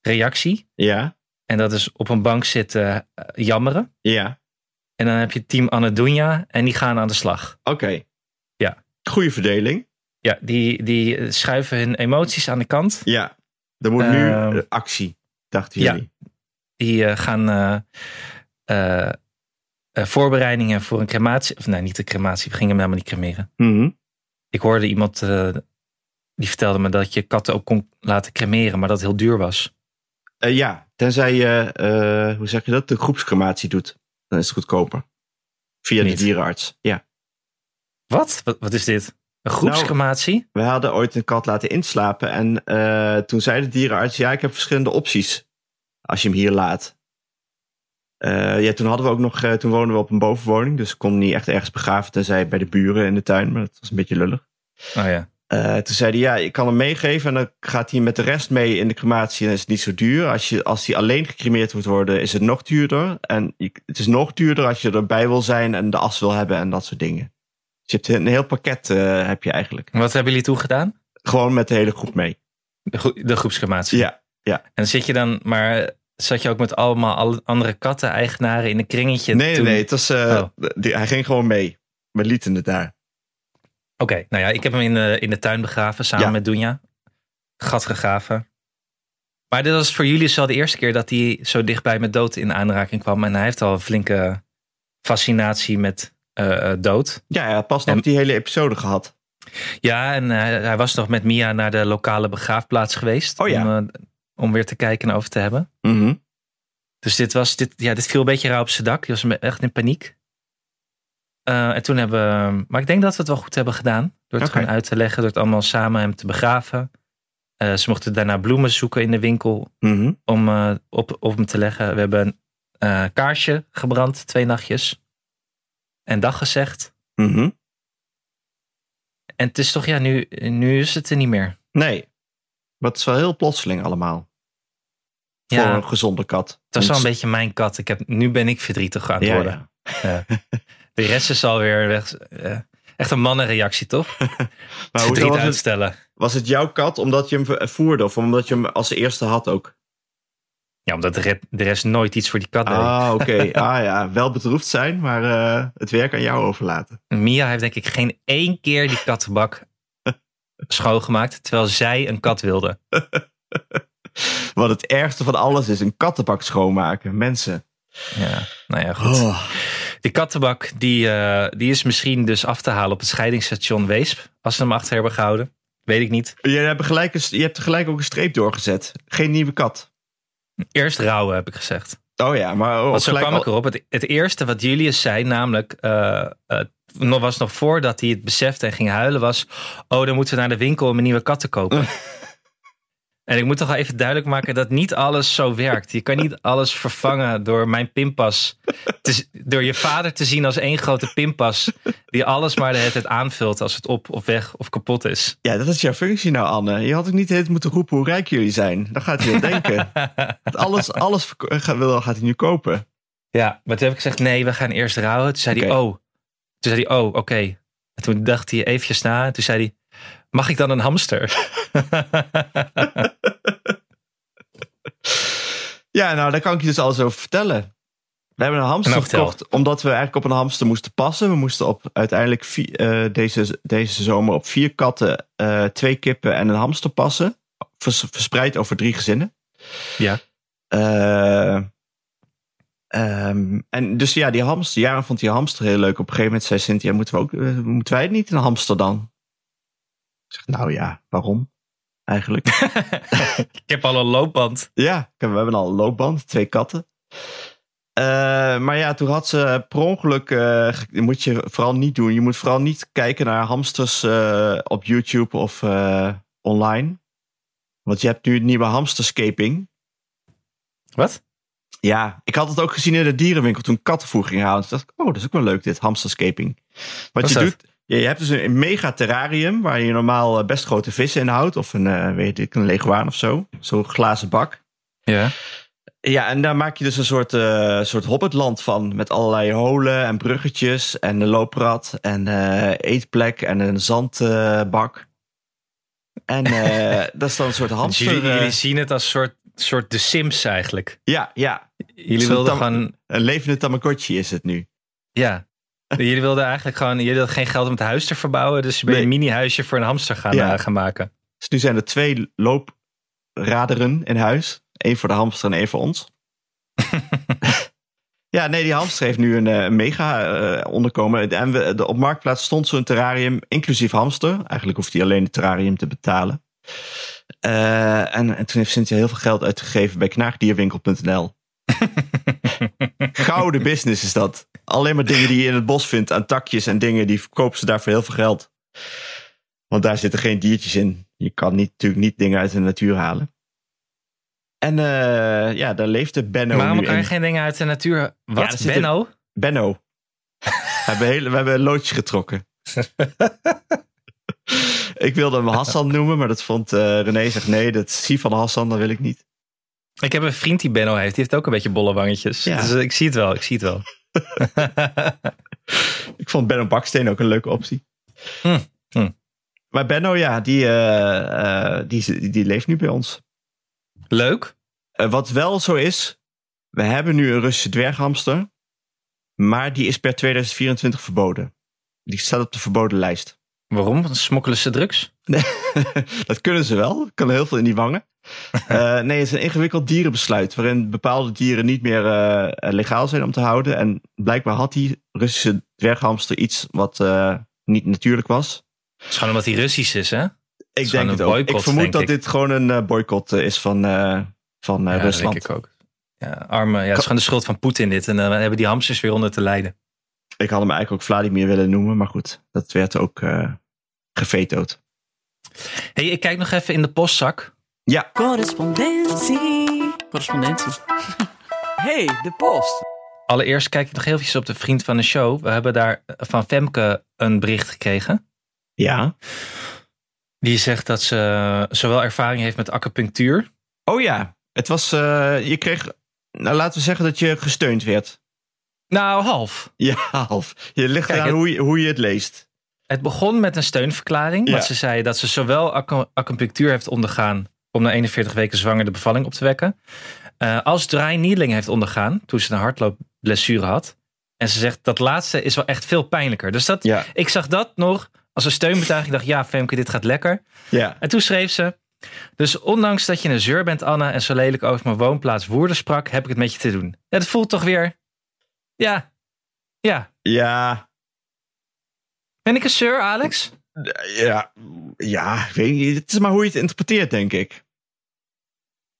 Speaker 1: reactie.
Speaker 2: Ja.
Speaker 1: En dat is op een bank zitten eh, jammeren.
Speaker 2: Ja.
Speaker 1: En dan heb je team Annedoenja en die gaan aan de slag.
Speaker 2: Oké.
Speaker 1: Ja.
Speaker 2: Goede verdeling.
Speaker 1: Ja, die, die schuiven hun emoties aan de kant.
Speaker 2: Ja. Er wordt nu
Speaker 1: Ehm.
Speaker 2: eh, actie, dachten
Speaker 1: Ja.
Speaker 2: jullie.
Speaker 1: Die eh, gaan eh, eh, eh, voorbereidingen voor een crematie. Of nee, niet de crematie. We gingen hem helemaal niet cremeren.
Speaker 2: Mhm.
Speaker 1: Ik hoorde iemand eh, die vertelde me dat je katten ook kon laten cremeren, maar dat heel duur was.
Speaker 2: Eh, ja. Tenzij je, eh, hoe zeg je dat, de groepscrematie doet. Dan is het goedkoper. Via
Speaker 1: Niet.
Speaker 2: de dierenarts. Ja.
Speaker 1: Wat? Wat, wat is dit? Een
Speaker 2: Nou-
Speaker 1: groepscrematie?
Speaker 2: We hadden ooit een kat laten inslapen. En eh, toen zei de dierenarts: Ja, ik heb verschillende opties. Als je hem hier laat. Eh, ja, toen hadden we ook nog. eh, toen woonden we op een bovenwoning. Dus ik kon hem niet echt ergens begraven. Tenzij bij de buren in de tuin. Maar dat was een beetje lullig.
Speaker 1: Oh ja.
Speaker 2: Eh, toen zei hij: Ja, ik kan hem meegeven. En dan gaat hij met de rest mee in de crematie. En is het niet zo duur. Als, je, als hij alleen gecremeerd moet worden, is het nog duurder. En je- het is nog duurder als je erbij wil zijn. En de as wil hebben en dat soort dingen. Dus je hebt een heel pakket eh, heb je eigenlijk.
Speaker 1: Wat hebben jullie toen gedaan?
Speaker 2: Gewoon met de hele groep mee.
Speaker 1: De, gro- de groepscrematie.
Speaker 2: Ja,
Speaker 1: En zit je dan, maar zat je ook met allemaal al- andere katten-eigenaren in een kringetje?
Speaker 2: nee, nee,
Speaker 1: toen-
Speaker 2: nee, het was, eh,
Speaker 1: Oh.
Speaker 2: die- hij ging gewoon mee. We lieten het daar.
Speaker 1: Oké, nou ja, ik heb hem in de, in de tuin begraven samen
Speaker 2: Ja.
Speaker 1: met Dunja. Gat gegraven. Maar dit was voor jullie al de eerste keer dat hij zo dichtbij met dood in aanraking kwam. En hij heeft al een flinke fascinatie met eh, eh, dood.
Speaker 2: Ja, ja pas nog
Speaker 1: En-
Speaker 2: die hele episode gehad.
Speaker 1: Ja, en hij, hij was nog met Mia naar de lokale begraafplaats geweest.
Speaker 2: Oh ja.
Speaker 1: Om, eh, om weer te kijken en over te hebben.
Speaker 2: Mhm.
Speaker 1: Dus dit, was, dit, ja, dit viel een beetje rauw op zijn dak. Die was me- echt in paniek. Eh, en toen hebben we... Maar ik denk dat we het wel goed hebben gedaan. Door het
Speaker 2: Oké.
Speaker 1: gewoon uit te leggen. Door het allemaal samen hem te begraven. Eh, ze mochten daarna bloemen zoeken in de winkel.
Speaker 2: mhm.
Speaker 1: Om eh, op, op hem te leggen. We hebben een eh, kaarsje gebrand. Twee nachtjes. En dag gezegd.
Speaker 2: mhm.
Speaker 1: En het is toch... Ja, nu, nu is het er niet meer.
Speaker 2: Nee, maar het is wel heel plotseling allemaal.
Speaker 1: Ja,
Speaker 2: Voor een gezonde kat.
Speaker 1: het was wel een
Speaker 2: Want-
Speaker 1: beetje mijn kat. Ik heb, nu ben ik verdrietig aan het
Speaker 2: Ja,
Speaker 1: worden.
Speaker 2: ja.
Speaker 1: De rest is alweer weg. eh, echt een mannenreactie, toch?
Speaker 2: Maar
Speaker 1: Het
Speaker 2: hoezo
Speaker 1: verdriet
Speaker 2: was, het,
Speaker 1: uitstellen.
Speaker 2: was het jouw kat omdat je hem ver- voerde? Of omdat je hem als eerste had ook?
Speaker 1: Ja, omdat de re- de rest nooit iets voor die kat deed.
Speaker 2: Ah, oké. Ah ja, wel bedroefd zijn, maar eh, het werk aan jou overlaten.
Speaker 1: Mia heeft denk ik geen één keer die kattenbak schoongemaakt, terwijl zij een kat wilde.
Speaker 2: Wat het ergste van alles is, een kattenbak schoonmaken. Mensen.
Speaker 1: Ja, nou ja, goed.
Speaker 2: Oh.
Speaker 1: De kattenbak die, eh, die is misschien dus af te halen op het scheidingsstation Weesp. Als ze hem achter hebben gehouden. Weet ik niet.
Speaker 2: Je hebt, gelijk een, je hebt gelijk ook een streep doorgezet. Geen nieuwe kat.
Speaker 1: Eerst rouwen heb ik gezegd.
Speaker 2: Oh ja, maar... Oh,
Speaker 1: Want zo
Speaker 2: gelijk
Speaker 1: kwam
Speaker 2: al-
Speaker 1: ik erop. Het, het eerste wat Julius zei, namelijk... eh, eh, nog was nog voordat hij het besefte en ging huilen, was... Oh, dan moeten we naar de winkel om een nieuwe kat te kopen. en ik moet toch wel even duidelijk maken dat niet alles zo werkt. Je kan niet alles vervangen door mijn pinpas. te z- door je vader te zien als één grote pinpas... die alles maar de hele tijd aanvult als het op of weg of kapot is.
Speaker 2: Ja, dat is jouw functie nou, Anne. Je had ook niet de hele tijd moeten roepen hoe rijk jullie zijn. Dan gaat hij wel denken. Want alles, alles verko- eh, gaat, wil- gaat hij nu kopen.
Speaker 1: Ja, maar toen heb ik gezegd, nee, we gaan eerst rouwen. Toen zei
Speaker 2: Oké.
Speaker 1: hij, oh. Toen zei hij, oh, oké. En toen dacht hij eventjes na. En toen zei hij, mag ik dan een hamster?
Speaker 2: Ja, nou, daar kan ik je dus alles over vertellen. We hebben een hamster
Speaker 1: Nou, vertel.
Speaker 2: gekocht omdat we eigenlijk op een hamster moesten passen. We moesten op, uiteindelijk vi- eh, deze, deze zomer op vier katten, eh, twee kippen en een hamster passen. Vers- verspreid over drie gezinnen.
Speaker 1: Ja.
Speaker 2: Eh, ehm, en dus ja, die hamster. Jaren vond die hamster heel leuk. Op een gegeven moment zei Cynthia, moeten, we ook, eh, moeten wij niet een hamster dan? Ik zeg, nou ja, waarom? Eigenlijk.
Speaker 1: ik heb al een loopband.
Speaker 2: Ja, ik heb- we hebben al een loopband, twee katten. Eh, maar ja, toen had ze per ongeluk, eh, ge- moet je vooral niet doen. Je moet vooral niet kijken naar hamsters eh, op YouTube of eh, online. Want je hebt nu het nieuwe hamsterscaping.
Speaker 1: Wat?
Speaker 2: Ja, ik had het ook gezien in de dierenwinkel toen ik kattenvoer ging halen. Toen dacht ik, oh, dat is ook wel leuk dit, hamsterscaping. Wat
Speaker 1: is
Speaker 2: je
Speaker 1: dat?
Speaker 2: doet, je, je hebt dus een mega terrarium waar je normaal eh, best grote vissen in houdt. Of een, eh, weet ik, een leguaan of zo. Zo'n glazen bak.
Speaker 1: Ja.
Speaker 2: Ja, en daar maak je dus een soort, eh, soort hobbitland van. Met allerlei holen en bruggetjes en een looprad en eh, eetplek en een zandbak. en eh, dat is dan een soort hamster.
Speaker 1: Dus jullie,
Speaker 2: eh,
Speaker 1: jullie zien het als soort, soort The Sims eigenlijk.
Speaker 2: ja, ja,
Speaker 1: Jullie
Speaker 2: Zo'n
Speaker 1: wilden
Speaker 2: tam-
Speaker 1: gewoon,
Speaker 2: een levende Tamagotchi is het nu.
Speaker 1: ja. Jullie wilden eigenlijk gewoon, jullie hadden geen geld om het huis te verbouwen. Dus ben je
Speaker 2: Nee.
Speaker 1: een mini-huisje voor een hamster gaan,
Speaker 2: Ja.
Speaker 1: eh, gaan maken.
Speaker 2: Dus nu zijn er twee loopraderen in huis. Eén voor de hamster en één voor ons. ja, nee, die hamster heeft nu een eh, mega eh, onderkomen. En we, de, op Marktplaats stond zo'n terrarium, inclusief hamster. Eigenlijk hoeft hij alleen het terrarium te betalen. Eh, en, en toen heeft Cynthia heel veel geld uitgegeven bij knaagdierwinkel.nl. Gouden business is dat. Alleen maar dingen die je in het bos vindt aan takjes en dingen, die verkopen ze daar voor heel veel geld. Want daar zitten geen diertjes in. Je kan niet, natuurlijk niet dingen uit de natuur halen. En eh, ja, daar leefde Benno nu
Speaker 1: Waarom kan je
Speaker 2: in.
Speaker 1: geen dingen uit de natuur... Wat,
Speaker 2: er zit een-
Speaker 1: Benno?
Speaker 2: Benno. we, hebben hele, we hebben een loodje getrokken. ik wilde hem Hassan noemen, maar dat vond eh, René zegt nee, dat is van Hassan, dat wil ik niet.
Speaker 1: Ik heb een vriend die Benno heeft. Die heeft ook een beetje bolle wangetjes.
Speaker 2: Ja.
Speaker 1: Dus eh, ik zie het wel, ik zie het wel.
Speaker 2: Ik vond Benno Baksteen ook een leuke optie.
Speaker 1: Hm, hm.
Speaker 2: Maar Benno, ja, die, eh, eh, die, die, die leeft nu bij ons.
Speaker 1: Leuk.
Speaker 2: Eh, wat wel zo is, we hebben nu een Russische dwerghamster, maar die is per 2024 verboden. Die staat op de verboden lijst.
Speaker 1: Waarom? Want Smokkelen ze drugs?
Speaker 2: dat kunnen ze wel. Kan heel veel in die wangen. Eh, nee, het is een ingewikkeld dierenbesluit. waarin bepaalde dieren niet meer eh, eh, legaal zijn om te houden. En blijkbaar had die Russische dwerghamster iets wat eh, niet natuurlijk was.
Speaker 1: Het is gewoon omdat hij Russisch is, hè?
Speaker 2: Ik
Speaker 1: is
Speaker 2: denk
Speaker 1: gewoon
Speaker 2: het
Speaker 1: een
Speaker 2: ook. ik
Speaker 1: boycott,
Speaker 2: vermoed
Speaker 1: denk
Speaker 2: dat
Speaker 1: ik.
Speaker 2: dit gewoon een eh, boycott eh, is van, eh, van eh,
Speaker 1: ja, dat
Speaker 2: Rusland.
Speaker 1: denk ik ook. Ja, arme, ja, het is gewoon de schuld van Poetin dit. En dan hebben die hamsters weer onder te lijden.
Speaker 2: Ik had hem eigenlijk ook Vladimir willen noemen. Maar goed, dat werd ook eh gevetood.
Speaker 1: hey, ik kijk nog even in de postzak.
Speaker 2: Ja,
Speaker 7: Correspondentie. Correspondentie. hey, de post.
Speaker 1: Allereerst kijk ik nog heel even op de vriend van de show. We hebben daar van Femke een bericht gekregen.
Speaker 2: ja.
Speaker 1: Die zegt dat ze eh, zowel ervaring heeft met acupunctuur.
Speaker 2: Oh ja, het was. eh, je kreeg. Nou, laten we zeggen dat je gesteund werd.
Speaker 1: Nou, half.
Speaker 2: Ja, half. Je ligt
Speaker 1: Kijk,
Speaker 2: eraan
Speaker 1: het-
Speaker 2: hoe, je, hoe je het leest.
Speaker 1: Het begon met een steunverklaring.
Speaker 2: Ja.
Speaker 1: Want ze zei dat ze zowel acu- acupunctuur heeft ondergaan. om na 41 weken zwanger de bevalling op te wekken. eh, als dry needling heeft ondergaan. toen ze een hardloopblessure had. En ze zegt dat laatste is wel echt veel pijnlijker. Dus dat,
Speaker 2: Ja.
Speaker 1: ik zag dat nog als een steunbetuiging. Ik dacht, ja, Femke, dit gaat lekker.
Speaker 2: Ja.
Speaker 1: En toen schreef ze. Dus ondanks dat je een zeur bent, Anna, en zo lelijk over mijn woonplaats Woerden sprak, heb ik het met je te doen. Ja, dat voelt toch weer. Ja, Ja.
Speaker 2: Ja,
Speaker 1: Ben ik een sir, Alex?
Speaker 2: ja, ja, ik weet niet. Het is maar hoe je het interpreteert, denk ik.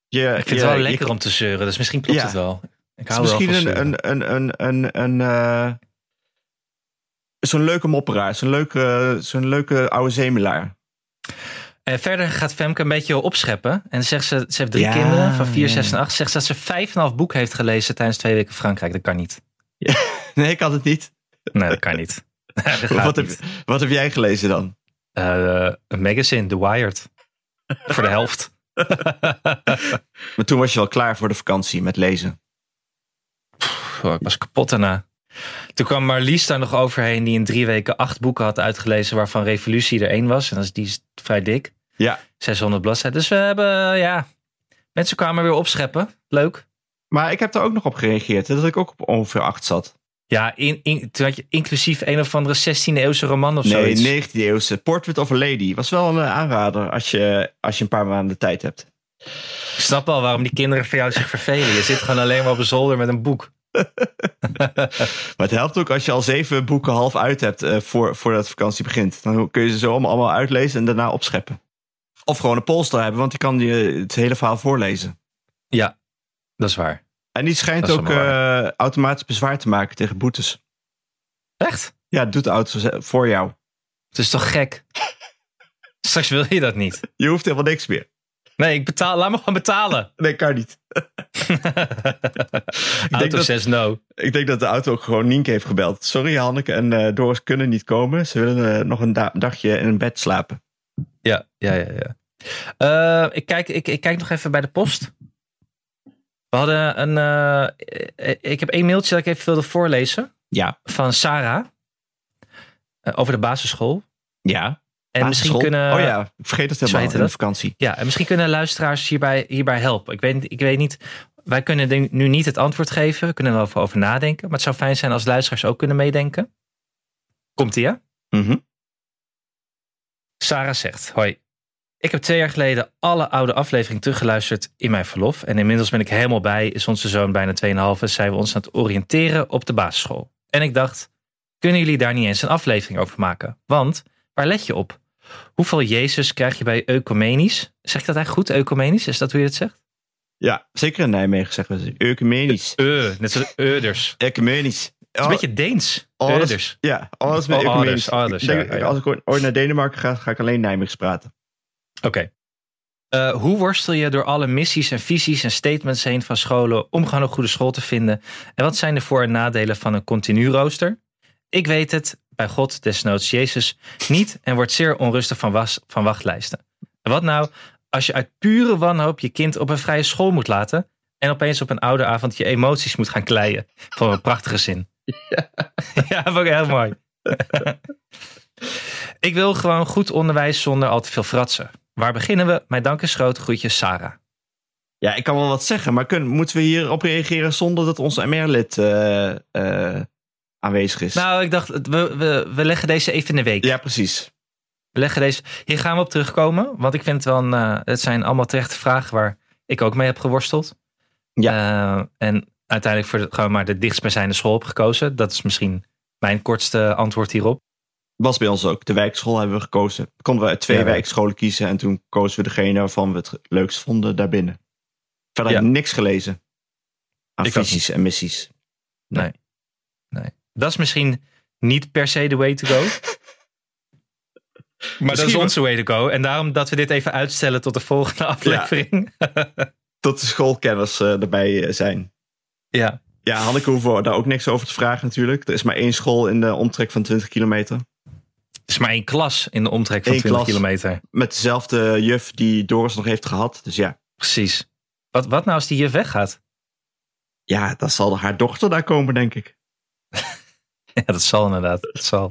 Speaker 2: Je,
Speaker 1: Ik vind
Speaker 2: je-
Speaker 1: het wel
Speaker 2: je-
Speaker 1: lekker om te zeuren, dus misschien klopt
Speaker 2: Ja.
Speaker 1: het wel. Ik
Speaker 2: Het
Speaker 1: hou
Speaker 2: is
Speaker 1: wel van
Speaker 2: misschien
Speaker 1: zeuren.
Speaker 2: een, een, een, een, een, een eh, zo'n leuke mopperaar, zo'n leuke, zo'n leuke oude zemelaar.
Speaker 1: En verder gaat Femke een beetje opscheppen. En zegt ze, ze heeft drie
Speaker 2: Ja,
Speaker 1: kinderen van 4,
Speaker 2: ja.
Speaker 1: 6 en 8. Zegt ze dat ze vijf en een half boek heeft gelezen tijdens twee weken Frankrijk. Dat kan niet.
Speaker 2: Nee, ik had het niet.
Speaker 1: Nee, dat kan niet. dat gaat
Speaker 2: Wat heb,
Speaker 1: niet.
Speaker 2: wat heb jij gelezen dan?
Speaker 1: Eh, een magazine, The Wired. Voor de helft.
Speaker 2: Maar toen was je wel klaar voor de vakantie met lezen.
Speaker 1: Pff, ik was kapot daarna. Toen kwam Marlies daar nog overheen, die in drie weken acht boeken had uitgelezen, waarvan Revolutie er één was. En dat is, die is vrij dik.
Speaker 2: Ja.
Speaker 1: 600 bladzijden. Dus we hebben, ja. Mensen kwamen weer opscheppen. Leuk.
Speaker 2: Maar ik heb daar ook nog op gereageerd, hè, dat ik ook op ongeveer acht zat.
Speaker 1: Ja, in, in, toen had je inclusief een of andere 16e-eeuwse roman of
Speaker 2: nee,
Speaker 1: zoiets.
Speaker 2: 19e eeuwse. Portrait of a Lady was wel een eh, aanrader als je, als je een paar maanden tijd hebt.
Speaker 1: Ik snap al waarom die kinderen van jou zich vervelen. Je zit gewoon alleen maar op een zolder met een boek.
Speaker 2: Maar het helpt ook als je al zeven boeken half uit hebt eh, voor, voordat de vakantie begint. Dan kun je ze zo allemaal, allemaal uitlezen en daarna opscheppen. Of gewoon een polster hebben, want die kan je het hele verhaal voorlezen.
Speaker 1: Ja, dat is waar.
Speaker 2: En die schijnt
Speaker 1: Dat is
Speaker 2: ook
Speaker 1: allemaal
Speaker 2: eh, automatisch bezwaar te maken tegen boetes.
Speaker 1: Echt?
Speaker 2: Ja, het doet de auto ze- voor jou.
Speaker 1: Het is toch gek? Straks wil je dat niet.
Speaker 2: Je hoeft helemaal niks meer.
Speaker 1: Nee, ik betaal, laat me gewoon betalen.
Speaker 2: Nee, kan niet.
Speaker 1: Auto
Speaker 2: dat-
Speaker 1: says no.
Speaker 2: Ik denk dat de auto ook gewoon Nienke heeft gebeld. Sorry, Hanneke en eh, Doris kunnen niet komen. Ze willen eh, nog een da- dagje in een bed slapen.
Speaker 1: Ja, ja, ja. ja. Eh, ik, kijk, ik, ik kijk nog even bij de post. We hadden een. eh, eh, ik heb één mailtje dat ik even wilde voorlezen.
Speaker 2: Ja.
Speaker 1: Van Sarah. Eh, over de basisschool.
Speaker 2: Ja.
Speaker 1: En misschien kunnen.
Speaker 2: Oh ja, ik vergeet het helemaal
Speaker 1: Zo heet
Speaker 2: in de
Speaker 1: dat.
Speaker 2: vakantie.
Speaker 1: Ja, en misschien kunnen luisteraars hierbij, hierbij helpen. Ik weet, ik weet niet, wij kunnen denk- nu niet het antwoord geven. We kunnen er wel over- over nadenken. Maar het zou fijn zijn als luisteraars ook kunnen meedenken. Komt-ie, hè?
Speaker 2: Mhm.
Speaker 1: Sarah zegt: Hoi. Ik heb twee jaar geleden alle oude afleveringen teruggeluisterd in mijn verlof. En inmiddels ben ik helemaal bij. Is onze zoon bijna 2,5 en zijn we ons aan het oriënteren op de basisschool. En ik dacht: kunnen jullie daar niet eens een aflevering over maken? Want waar let je op? Hoeveel Jezus krijg je bij ecumenisch? Zeg ik dat eigenlijk goed? Ecumenisch? Is dat hoe je het zegt?
Speaker 2: Ja, zeker in Nijmegen zeggen we ze. Ecumenisch.
Speaker 1: Eh, net zoals Euders.
Speaker 2: Ecumenisch.
Speaker 1: Het is een beetje Deens.
Speaker 2: alles-
Speaker 1: Euders.
Speaker 2: Ja, alles met
Speaker 1: Oh,
Speaker 2: ecumenisch.
Speaker 1: ouders, ouders,
Speaker 2: Ik denk
Speaker 1: ja,
Speaker 2: dat ik-
Speaker 1: ja.
Speaker 2: Als ik ooit- ooit naar Denemarken ga, ga ik alleen Nijmeegs praten.
Speaker 1: Oké. Eh, hoe worstel je door alle missies en visies en statements heen van scholen om gewoon een goede school te vinden? En wat zijn de voor- en nadelen van een continu rooster? Ik weet het, bij God, desnoods Jezus, niet en word zeer onrustig van, was, van wachtlijsten. En wat nou als je uit pure wanhoop je kind op een vrije school moet laten en opeens op een oude avond je emoties moet gaan kleien? Van een prachtige zin. Ja, ja vond ik heel mooi. Ik wil gewoon goed onderwijs zonder al te veel fratsen. Waar beginnen we? Mijn dank is groot. Groetjes, Sarah.
Speaker 2: Ja, ik kan wel wat zeggen, maar kun- moeten we hierop reageren zonder dat ons MR-lid eh, eh, aanwezig is?
Speaker 1: Nou, ik dacht, we, we, we leggen deze even in de week.
Speaker 2: ja, precies.
Speaker 1: We leggen deze, hier gaan we op terugkomen. Want ik vind het wel een, eh, het zijn allemaal terechte vragen waar ik ook mee heb geworsteld. Ja. en uiteindelijk voor de- gewoon maar de dichtstbijzijnde school heb gekozen. Dat is misschien mijn kortste antwoord hierop.
Speaker 2: Was bij ons ook. De wijkschool hebben we gekozen. Konden we uit twee
Speaker 1: Ja.
Speaker 2: wijkscholen kiezen en toen kozen we degene waarvan we het leukst vonden daarbinnen. Verder heb ik niks gelezen aan
Speaker 1: Ik ook
Speaker 2: visies en missies.
Speaker 1: Dat is misschien niet per se de way to go. maar dat is
Speaker 2: Misschien-
Speaker 1: onze way to go. En daarom dat we dit even uitstellen tot de volgende aflevering.
Speaker 2: Tot de schoolkenners eh, erbij eh, zijn.
Speaker 1: ja.
Speaker 2: Ja, Hanneke hoeven we daar ook niks over te vragen natuurlijk. Er is maar één school in de omtrek van 20 kilometer.
Speaker 1: Het is maar één klas in de omtrek van
Speaker 2: Eén
Speaker 1: 20
Speaker 2: klas.
Speaker 1: kilometer.
Speaker 2: Met dezelfde juf die Doris nog heeft gehad. Dus ja,
Speaker 1: Precies. Wat, wat nou als die hier weggaat?
Speaker 2: ja dan zal haar dochter daar komen, denk ik.
Speaker 1: Ja, dat zal inderdaad. Dat zal.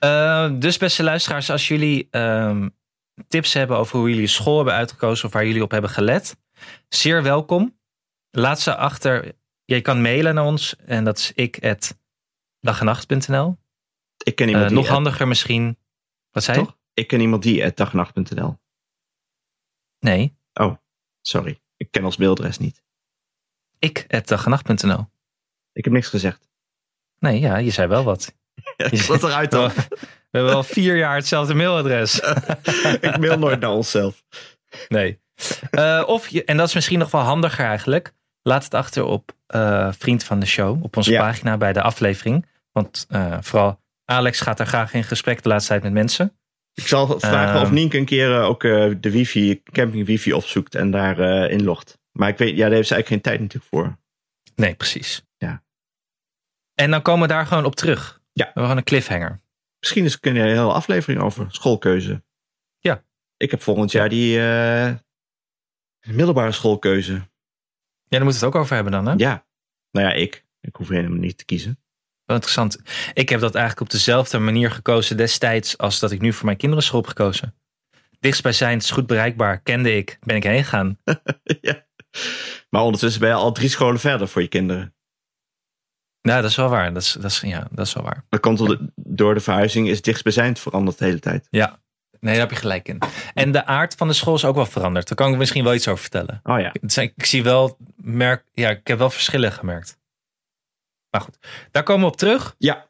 Speaker 1: Eh, dus beste luisteraars, als jullie ehm, tips hebben over hoe jullie school hebben uitgekozen of waar jullie op hebben gelet, zeer welkom. Laat ze achter. Je kan mailen naar ons en dat is ik at dagenacht.nl.
Speaker 2: Ik ken
Speaker 1: Eh
Speaker 2: iemand die...
Speaker 1: nog handiger misschien. Wat zei je?
Speaker 2: Toch? Ik ken iemand die at dagnacht.nl.
Speaker 1: Nee,
Speaker 2: Sorry, ik ken ons mailadres niet.
Speaker 1: ik at dagenacht.nl.
Speaker 2: Ik heb niks gezegd.
Speaker 1: Nee, ja, je zei wel wat.
Speaker 2: Ik zat eruit dan.
Speaker 1: We hebben al vier jaar hetzelfde mailadres.
Speaker 2: Ik mail nooit naar onszelf.
Speaker 1: Nee. Eh, of je, en dat is misschien nog wel handiger eigenlijk. Laat het achter op eh, Vriend van de Show. Op onze
Speaker 2: Ja.
Speaker 1: pagina bij de aflevering. Want eh, vooral Alex gaat daar graag in gesprek de laatste tijd met mensen.
Speaker 2: Ik zal vragen
Speaker 1: Ehm.
Speaker 2: of Nienke een keer eh, ook eh, de wifi, camping wifi opzoekt en daar eh, inlogt. Maar ik weet, ja, daar heeft ze eigenlijk geen tijd natuurlijk voor.
Speaker 1: Nee, precies.
Speaker 2: Ja.
Speaker 1: En dan komen we daar gewoon op terug.
Speaker 2: Ja.
Speaker 1: We hebben gewoon een cliffhanger.
Speaker 2: Misschien is, kun je een hele aflevering over schoolkeuze.
Speaker 1: Ja.
Speaker 2: Ik heb volgend jaar die eh, middelbare schoolkeuze.
Speaker 1: Ja, daar moeten we het ook over hebben dan. Hè?
Speaker 2: Ja. Nou ja, ik. Ik hoef helemaal niet te kiezen.
Speaker 1: Wel interessant. Ik heb dat eigenlijk op dezelfde manier gekozen destijds als dat ik nu voor mijn kinderen school heb gekozen. Dichtstbijzijnd, is goed bereikbaar, kende ik, ben ik heen gegaan.
Speaker 2: ja. Maar ondertussen ben je al drie scholen verder voor je kinderen.
Speaker 1: Nou, dat is wel waar. Dat is, dat is, ja, dat is wel waar.
Speaker 2: Dat komt door de, door de verhuizing is dichtstbijzijnd veranderd de hele tijd.
Speaker 1: Ja, nee, daar heb je gelijk in. En de aard van de school is ook wel veranderd. Daar kan ik misschien wel iets over vertellen.
Speaker 2: Oh ja.
Speaker 1: Het zijn- Ik zie wel, merk, ja, ik heb wel verschillen gemerkt. Maar goed, daar komen we op terug.
Speaker 2: Ja.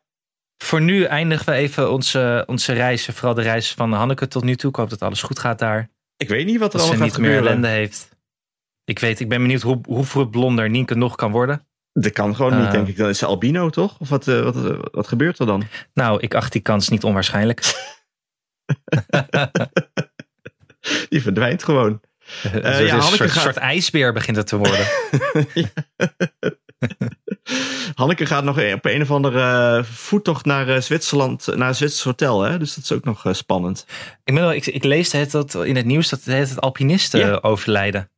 Speaker 1: Voor nu eindigen we even onze, onze reizen. Vooral de reis van Hanneke tot nu toe. Ik hoop dat alles goed gaat daar.
Speaker 2: Ik weet niet wat er
Speaker 1: Dat ze
Speaker 2: allemaal
Speaker 1: niet
Speaker 2: gaat
Speaker 1: meer
Speaker 2: gebeuren.
Speaker 1: ellende heeft. Ik weet, ik ben benieuwd hoe, hoeveel blonder Nienke nog kan worden.
Speaker 2: Dat kan gewoon
Speaker 1: Eh.
Speaker 2: niet, denk ik. Dan is ze albino, toch? Of wat, eh, wat, eh, wat gebeurt er dan?
Speaker 1: Nou, ik acht die kans niet onwaarschijnlijk.
Speaker 2: Eh, Die verdwijnt gewoon.
Speaker 1: Dus
Speaker 2: ja,
Speaker 1: een
Speaker 2: Hanneke
Speaker 1: soort,
Speaker 2: gaat-
Speaker 1: soort ijsbeer begint het te worden.
Speaker 2: Hanneke gaat nog op een of andere eh, voettocht naar eh, Zwitserland, naar een Zwitsers hotel. Hè? Dus dat is ook nog eh, spannend.
Speaker 1: Ik, ben wel, ik, ik lees het dat in het nieuws dat het alpinisten
Speaker 2: Ja.
Speaker 1: overlijden.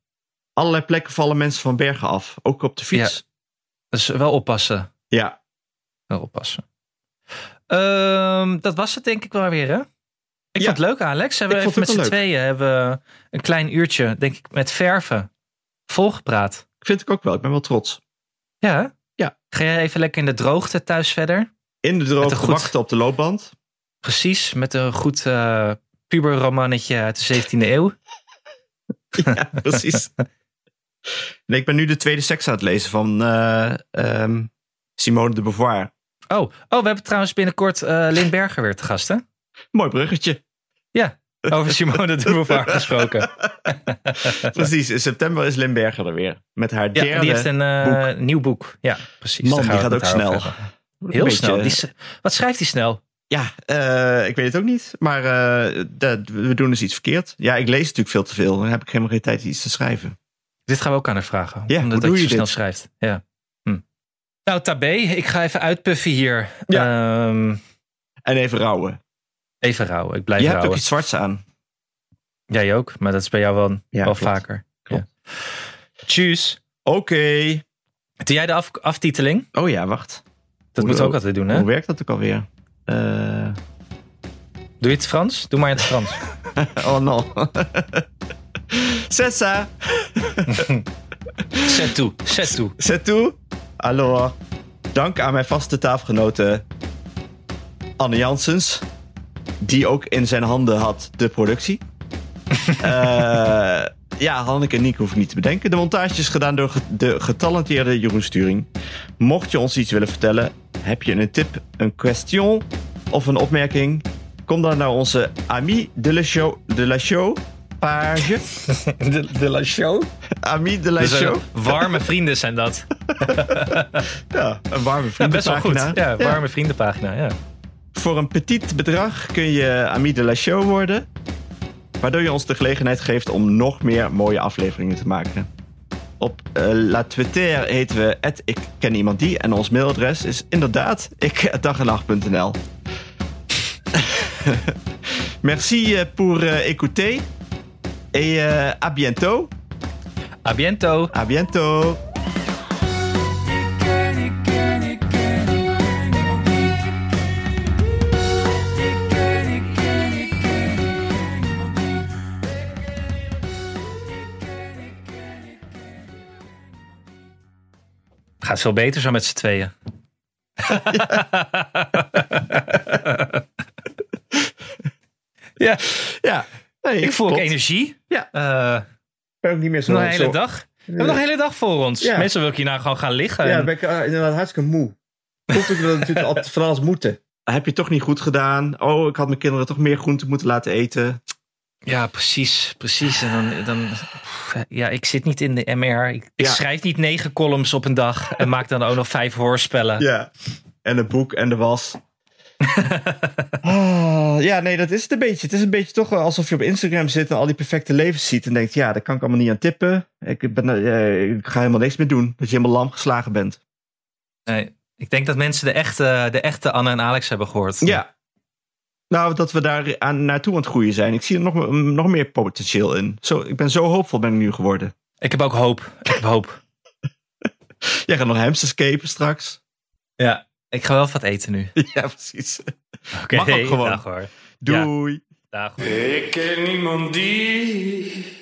Speaker 2: Allerlei plekken vallen mensen van bergen af. Ook op de fiets.
Speaker 1: Dus wel oppassen.
Speaker 2: Ja,
Speaker 1: Wel oppassen. Ehm, dat was het denk ik wel weer, hè? Ik
Speaker 2: Ja.
Speaker 1: vond het leuk, Alex. Hebben
Speaker 2: Ik
Speaker 1: we even
Speaker 2: vond
Speaker 1: met z'n
Speaker 2: het ook
Speaker 1: tweeën hebben we een klein uurtje, denk ik, met verven volgepraat.
Speaker 2: vind ik ook wel. Ik ben wel trots.
Speaker 1: Ja, hè?
Speaker 2: Ja.
Speaker 1: Ga jij even lekker in de droogte thuis verder?
Speaker 2: In de
Speaker 1: Met
Speaker 2: droge
Speaker 1: een goed-
Speaker 2: gewachten op de loopband.
Speaker 1: Precies, met een goed eh, puberromannetje uit de 17e eeuw.
Speaker 2: ja, precies. Nee, ik ben nu de tweede seks aan het lezen van eh, ehm, Simone de Beauvoir.
Speaker 1: Oh, oh, we hebben trouwens binnenkort eh Lynn Berger weer te gast, hè?
Speaker 2: Mooi bruggetje.
Speaker 1: Over Simone de Beauvoir gesproken.
Speaker 2: Precies. In september is Limberger er weer. Met haar
Speaker 1: Ja,
Speaker 2: derde.
Speaker 1: die heeft een eh, nieuw boek. Ja, precies.
Speaker 2: Man,
Speaker 1: Daar gaan
Speaker 2: die
Speaker 1: we
Speaker 2: gaat
Speaker 1: het met
Speaker 2: ook
Speaker 1: haar
Speaker 2: snel.
Speaker 1: over hebben. Heel
Speaker 2: Beetje-
Speaker 1: snel. Die s- wat schrijft hij snel?
Speaker 2: Ja, eh, ik weet het ook niet. Maar eh, dat- we doen dus iets verkeerd. Ja, ik lees natuurlijk veel te veel. Dan heb ik helemaal geen tijd iets te schrijven.
Speaker 1: Dit gaan we ook aan haar vragen.
Speaker 2: Ja, hoe
Speaker 1: omdat
Speaker 2: doe
Speaker 1: hij zo
Speaker 2: je
Speaker 1: snel
Speaker 2: dit?
Speaker 1: schrijft. Ja. Hm. Nou, Tabé, ik ga even uitpuffen hier. Ehm,
Speaker 2: En even rouwen.
Speaker 1: even rouwen. Ik blijf
Speaker 2: Je hebt ook
Speaker 1: rouwen.
Speaker 2: iets zwarts aan.
Speaker 1: Jij ook, maar dat is bij jou wel,
Speaker 2: Ja,
Speaker 1: wel
Speaker 2: klopt.
Speaker 1: vaker.
Speaker 2: Klopt.
Speaker 1: Ja. Tjus.
Speaker 2: Oké.
Speaker 1: Doe jij de af- aftiteling?
Speaker 2: Oh ja, wacht.
Speaker 1: Dat
Speaker 2: Hoe
Speaker 1: moeten we ook
Speaker 2: ook.
Speaker 1: altijd doen, hè?
Speaker 2: Hoe werkt dat ook alweer? Eh,
Speaker 1: Doe je het Frans? Doe maar in het Frans.
Speaker 2: oh no. Sessa,
Speaker 1: Zet toe. Zet toe.
Speaker 2: c'est tout. Hallo. Dank aan mijn vaste tafelgenote Anne Janssens. Die ook in zijn handen had de productie. Eh, ja, Hanneke en Niek hoef ik niet te bedenken. De montage is gedaan door ge- de getalenteerde Jeroen Sturing. Mocht je ons iets willen vertellen, heb je een tip, een question of een opmerking? Kom dan naar onze Ami de la Show, de la show page.
Speaker 1: De, de la Dus, eh, show?
Speaker 2: Ami de la Show.
Speaker 1: warme vrienden zijn dat.
Speaker 2: Ja, een warme
Speaker 1: Ja, best
Speaker 2: vriendenpagina.
Speaker 1: wel goed. Ja,
Speaker 2: Ja.
Speaker 1: warme vriendenpagina. Ja.
Speaker 2: Voor een petit bedrag kun je Ami de la Show worden. Waardoor je ons de gelegenheid geeft om nog meer mooie afleveringen te maken. Op eh, La Twitter heten we ik ken iemand die. En ons mailadres is inderdaad ik@dagenacht.nl. Merci eh, pour eh, écouter. Et eh, à bientôt.
Speaker 1: A biento.
Speaker 2: À bientôt.
Speaker 1: Gaat veel beter zo met z'n tweeën. ja,
Speaker 2: Ja. Nee,
Speaker 1: ik voel ook
Speaker 2: klopt.
Speaker 1: energie.
Speaker 2: Ja.
Speaker 1: Eh,
Speaker 2: Ik ben ook niet meer zo...
Speaker 1: nog een hele
Speaker 2: zo-
Speaker 1: dag. We hebben nog een hele dag voor ons.
Speaker 2: Ja.
Speaker 1: Meestal wil ik hier nou gewoon gaan liggen.
Speaker 2: Ja,
Speaker 1: en-
Speaker 2: ben ik eh, inderdaad hartstikke moe. Komt ook omdat we natuurlijk altijd van alles moeten. Heb je toch niet goed gedaan? Oh, ik had mijn kinderen toch meer groente moeten laten eten.
Speaker 1: Ja, precies. Precies. En dan, dan, ja, ik zit niet in de MR. Ik, ik
Speaker 2: Ja.
Speaker 1: schrijf niet negen columns op een dag en maak dan ook nog vijf hoorspellen.
Speaker 2: Ja. En het boek en de was. Ah, ja, nee, dat is het een beetje. Het is een beetje toch wel alsof je op Instagram zit en al die perfecte levens ziet. En denkt, ja, daar kan ik allemaal niet aan tippen. Ik, ben, eh, ik ga helemaal niks meer doen. Dat je helemaal lam geslagen bent.
Speaker 1: Nee, ik denk dat mensen de echte, de echte Anne en Alex hebben gehoord.
Speaker 2: Ja. Nou, dat we daar aan, naartoe aan het groeien zijn. Ik zie er nog, nog meer potentieel in. Zo, ik ben zo hoopvol ben ik nu geworden.
Speaker 1: Ik heb ook hoop. Ik heb hoop.
Speaker 2: Jij gaat nog hamsterscapen straks.
Speaker 1: Ja. Ik ga wel wat eten nu.
Speaker 2: Ja, precies.
Speaker 1: Oké,
Speaker 2: Mag ook gewoon.
Speaker 1: Dag hoor.
Speaker 2: Doei.
Speaker 1: Dag hoor.
Speaker 6: Ik ken niemand die.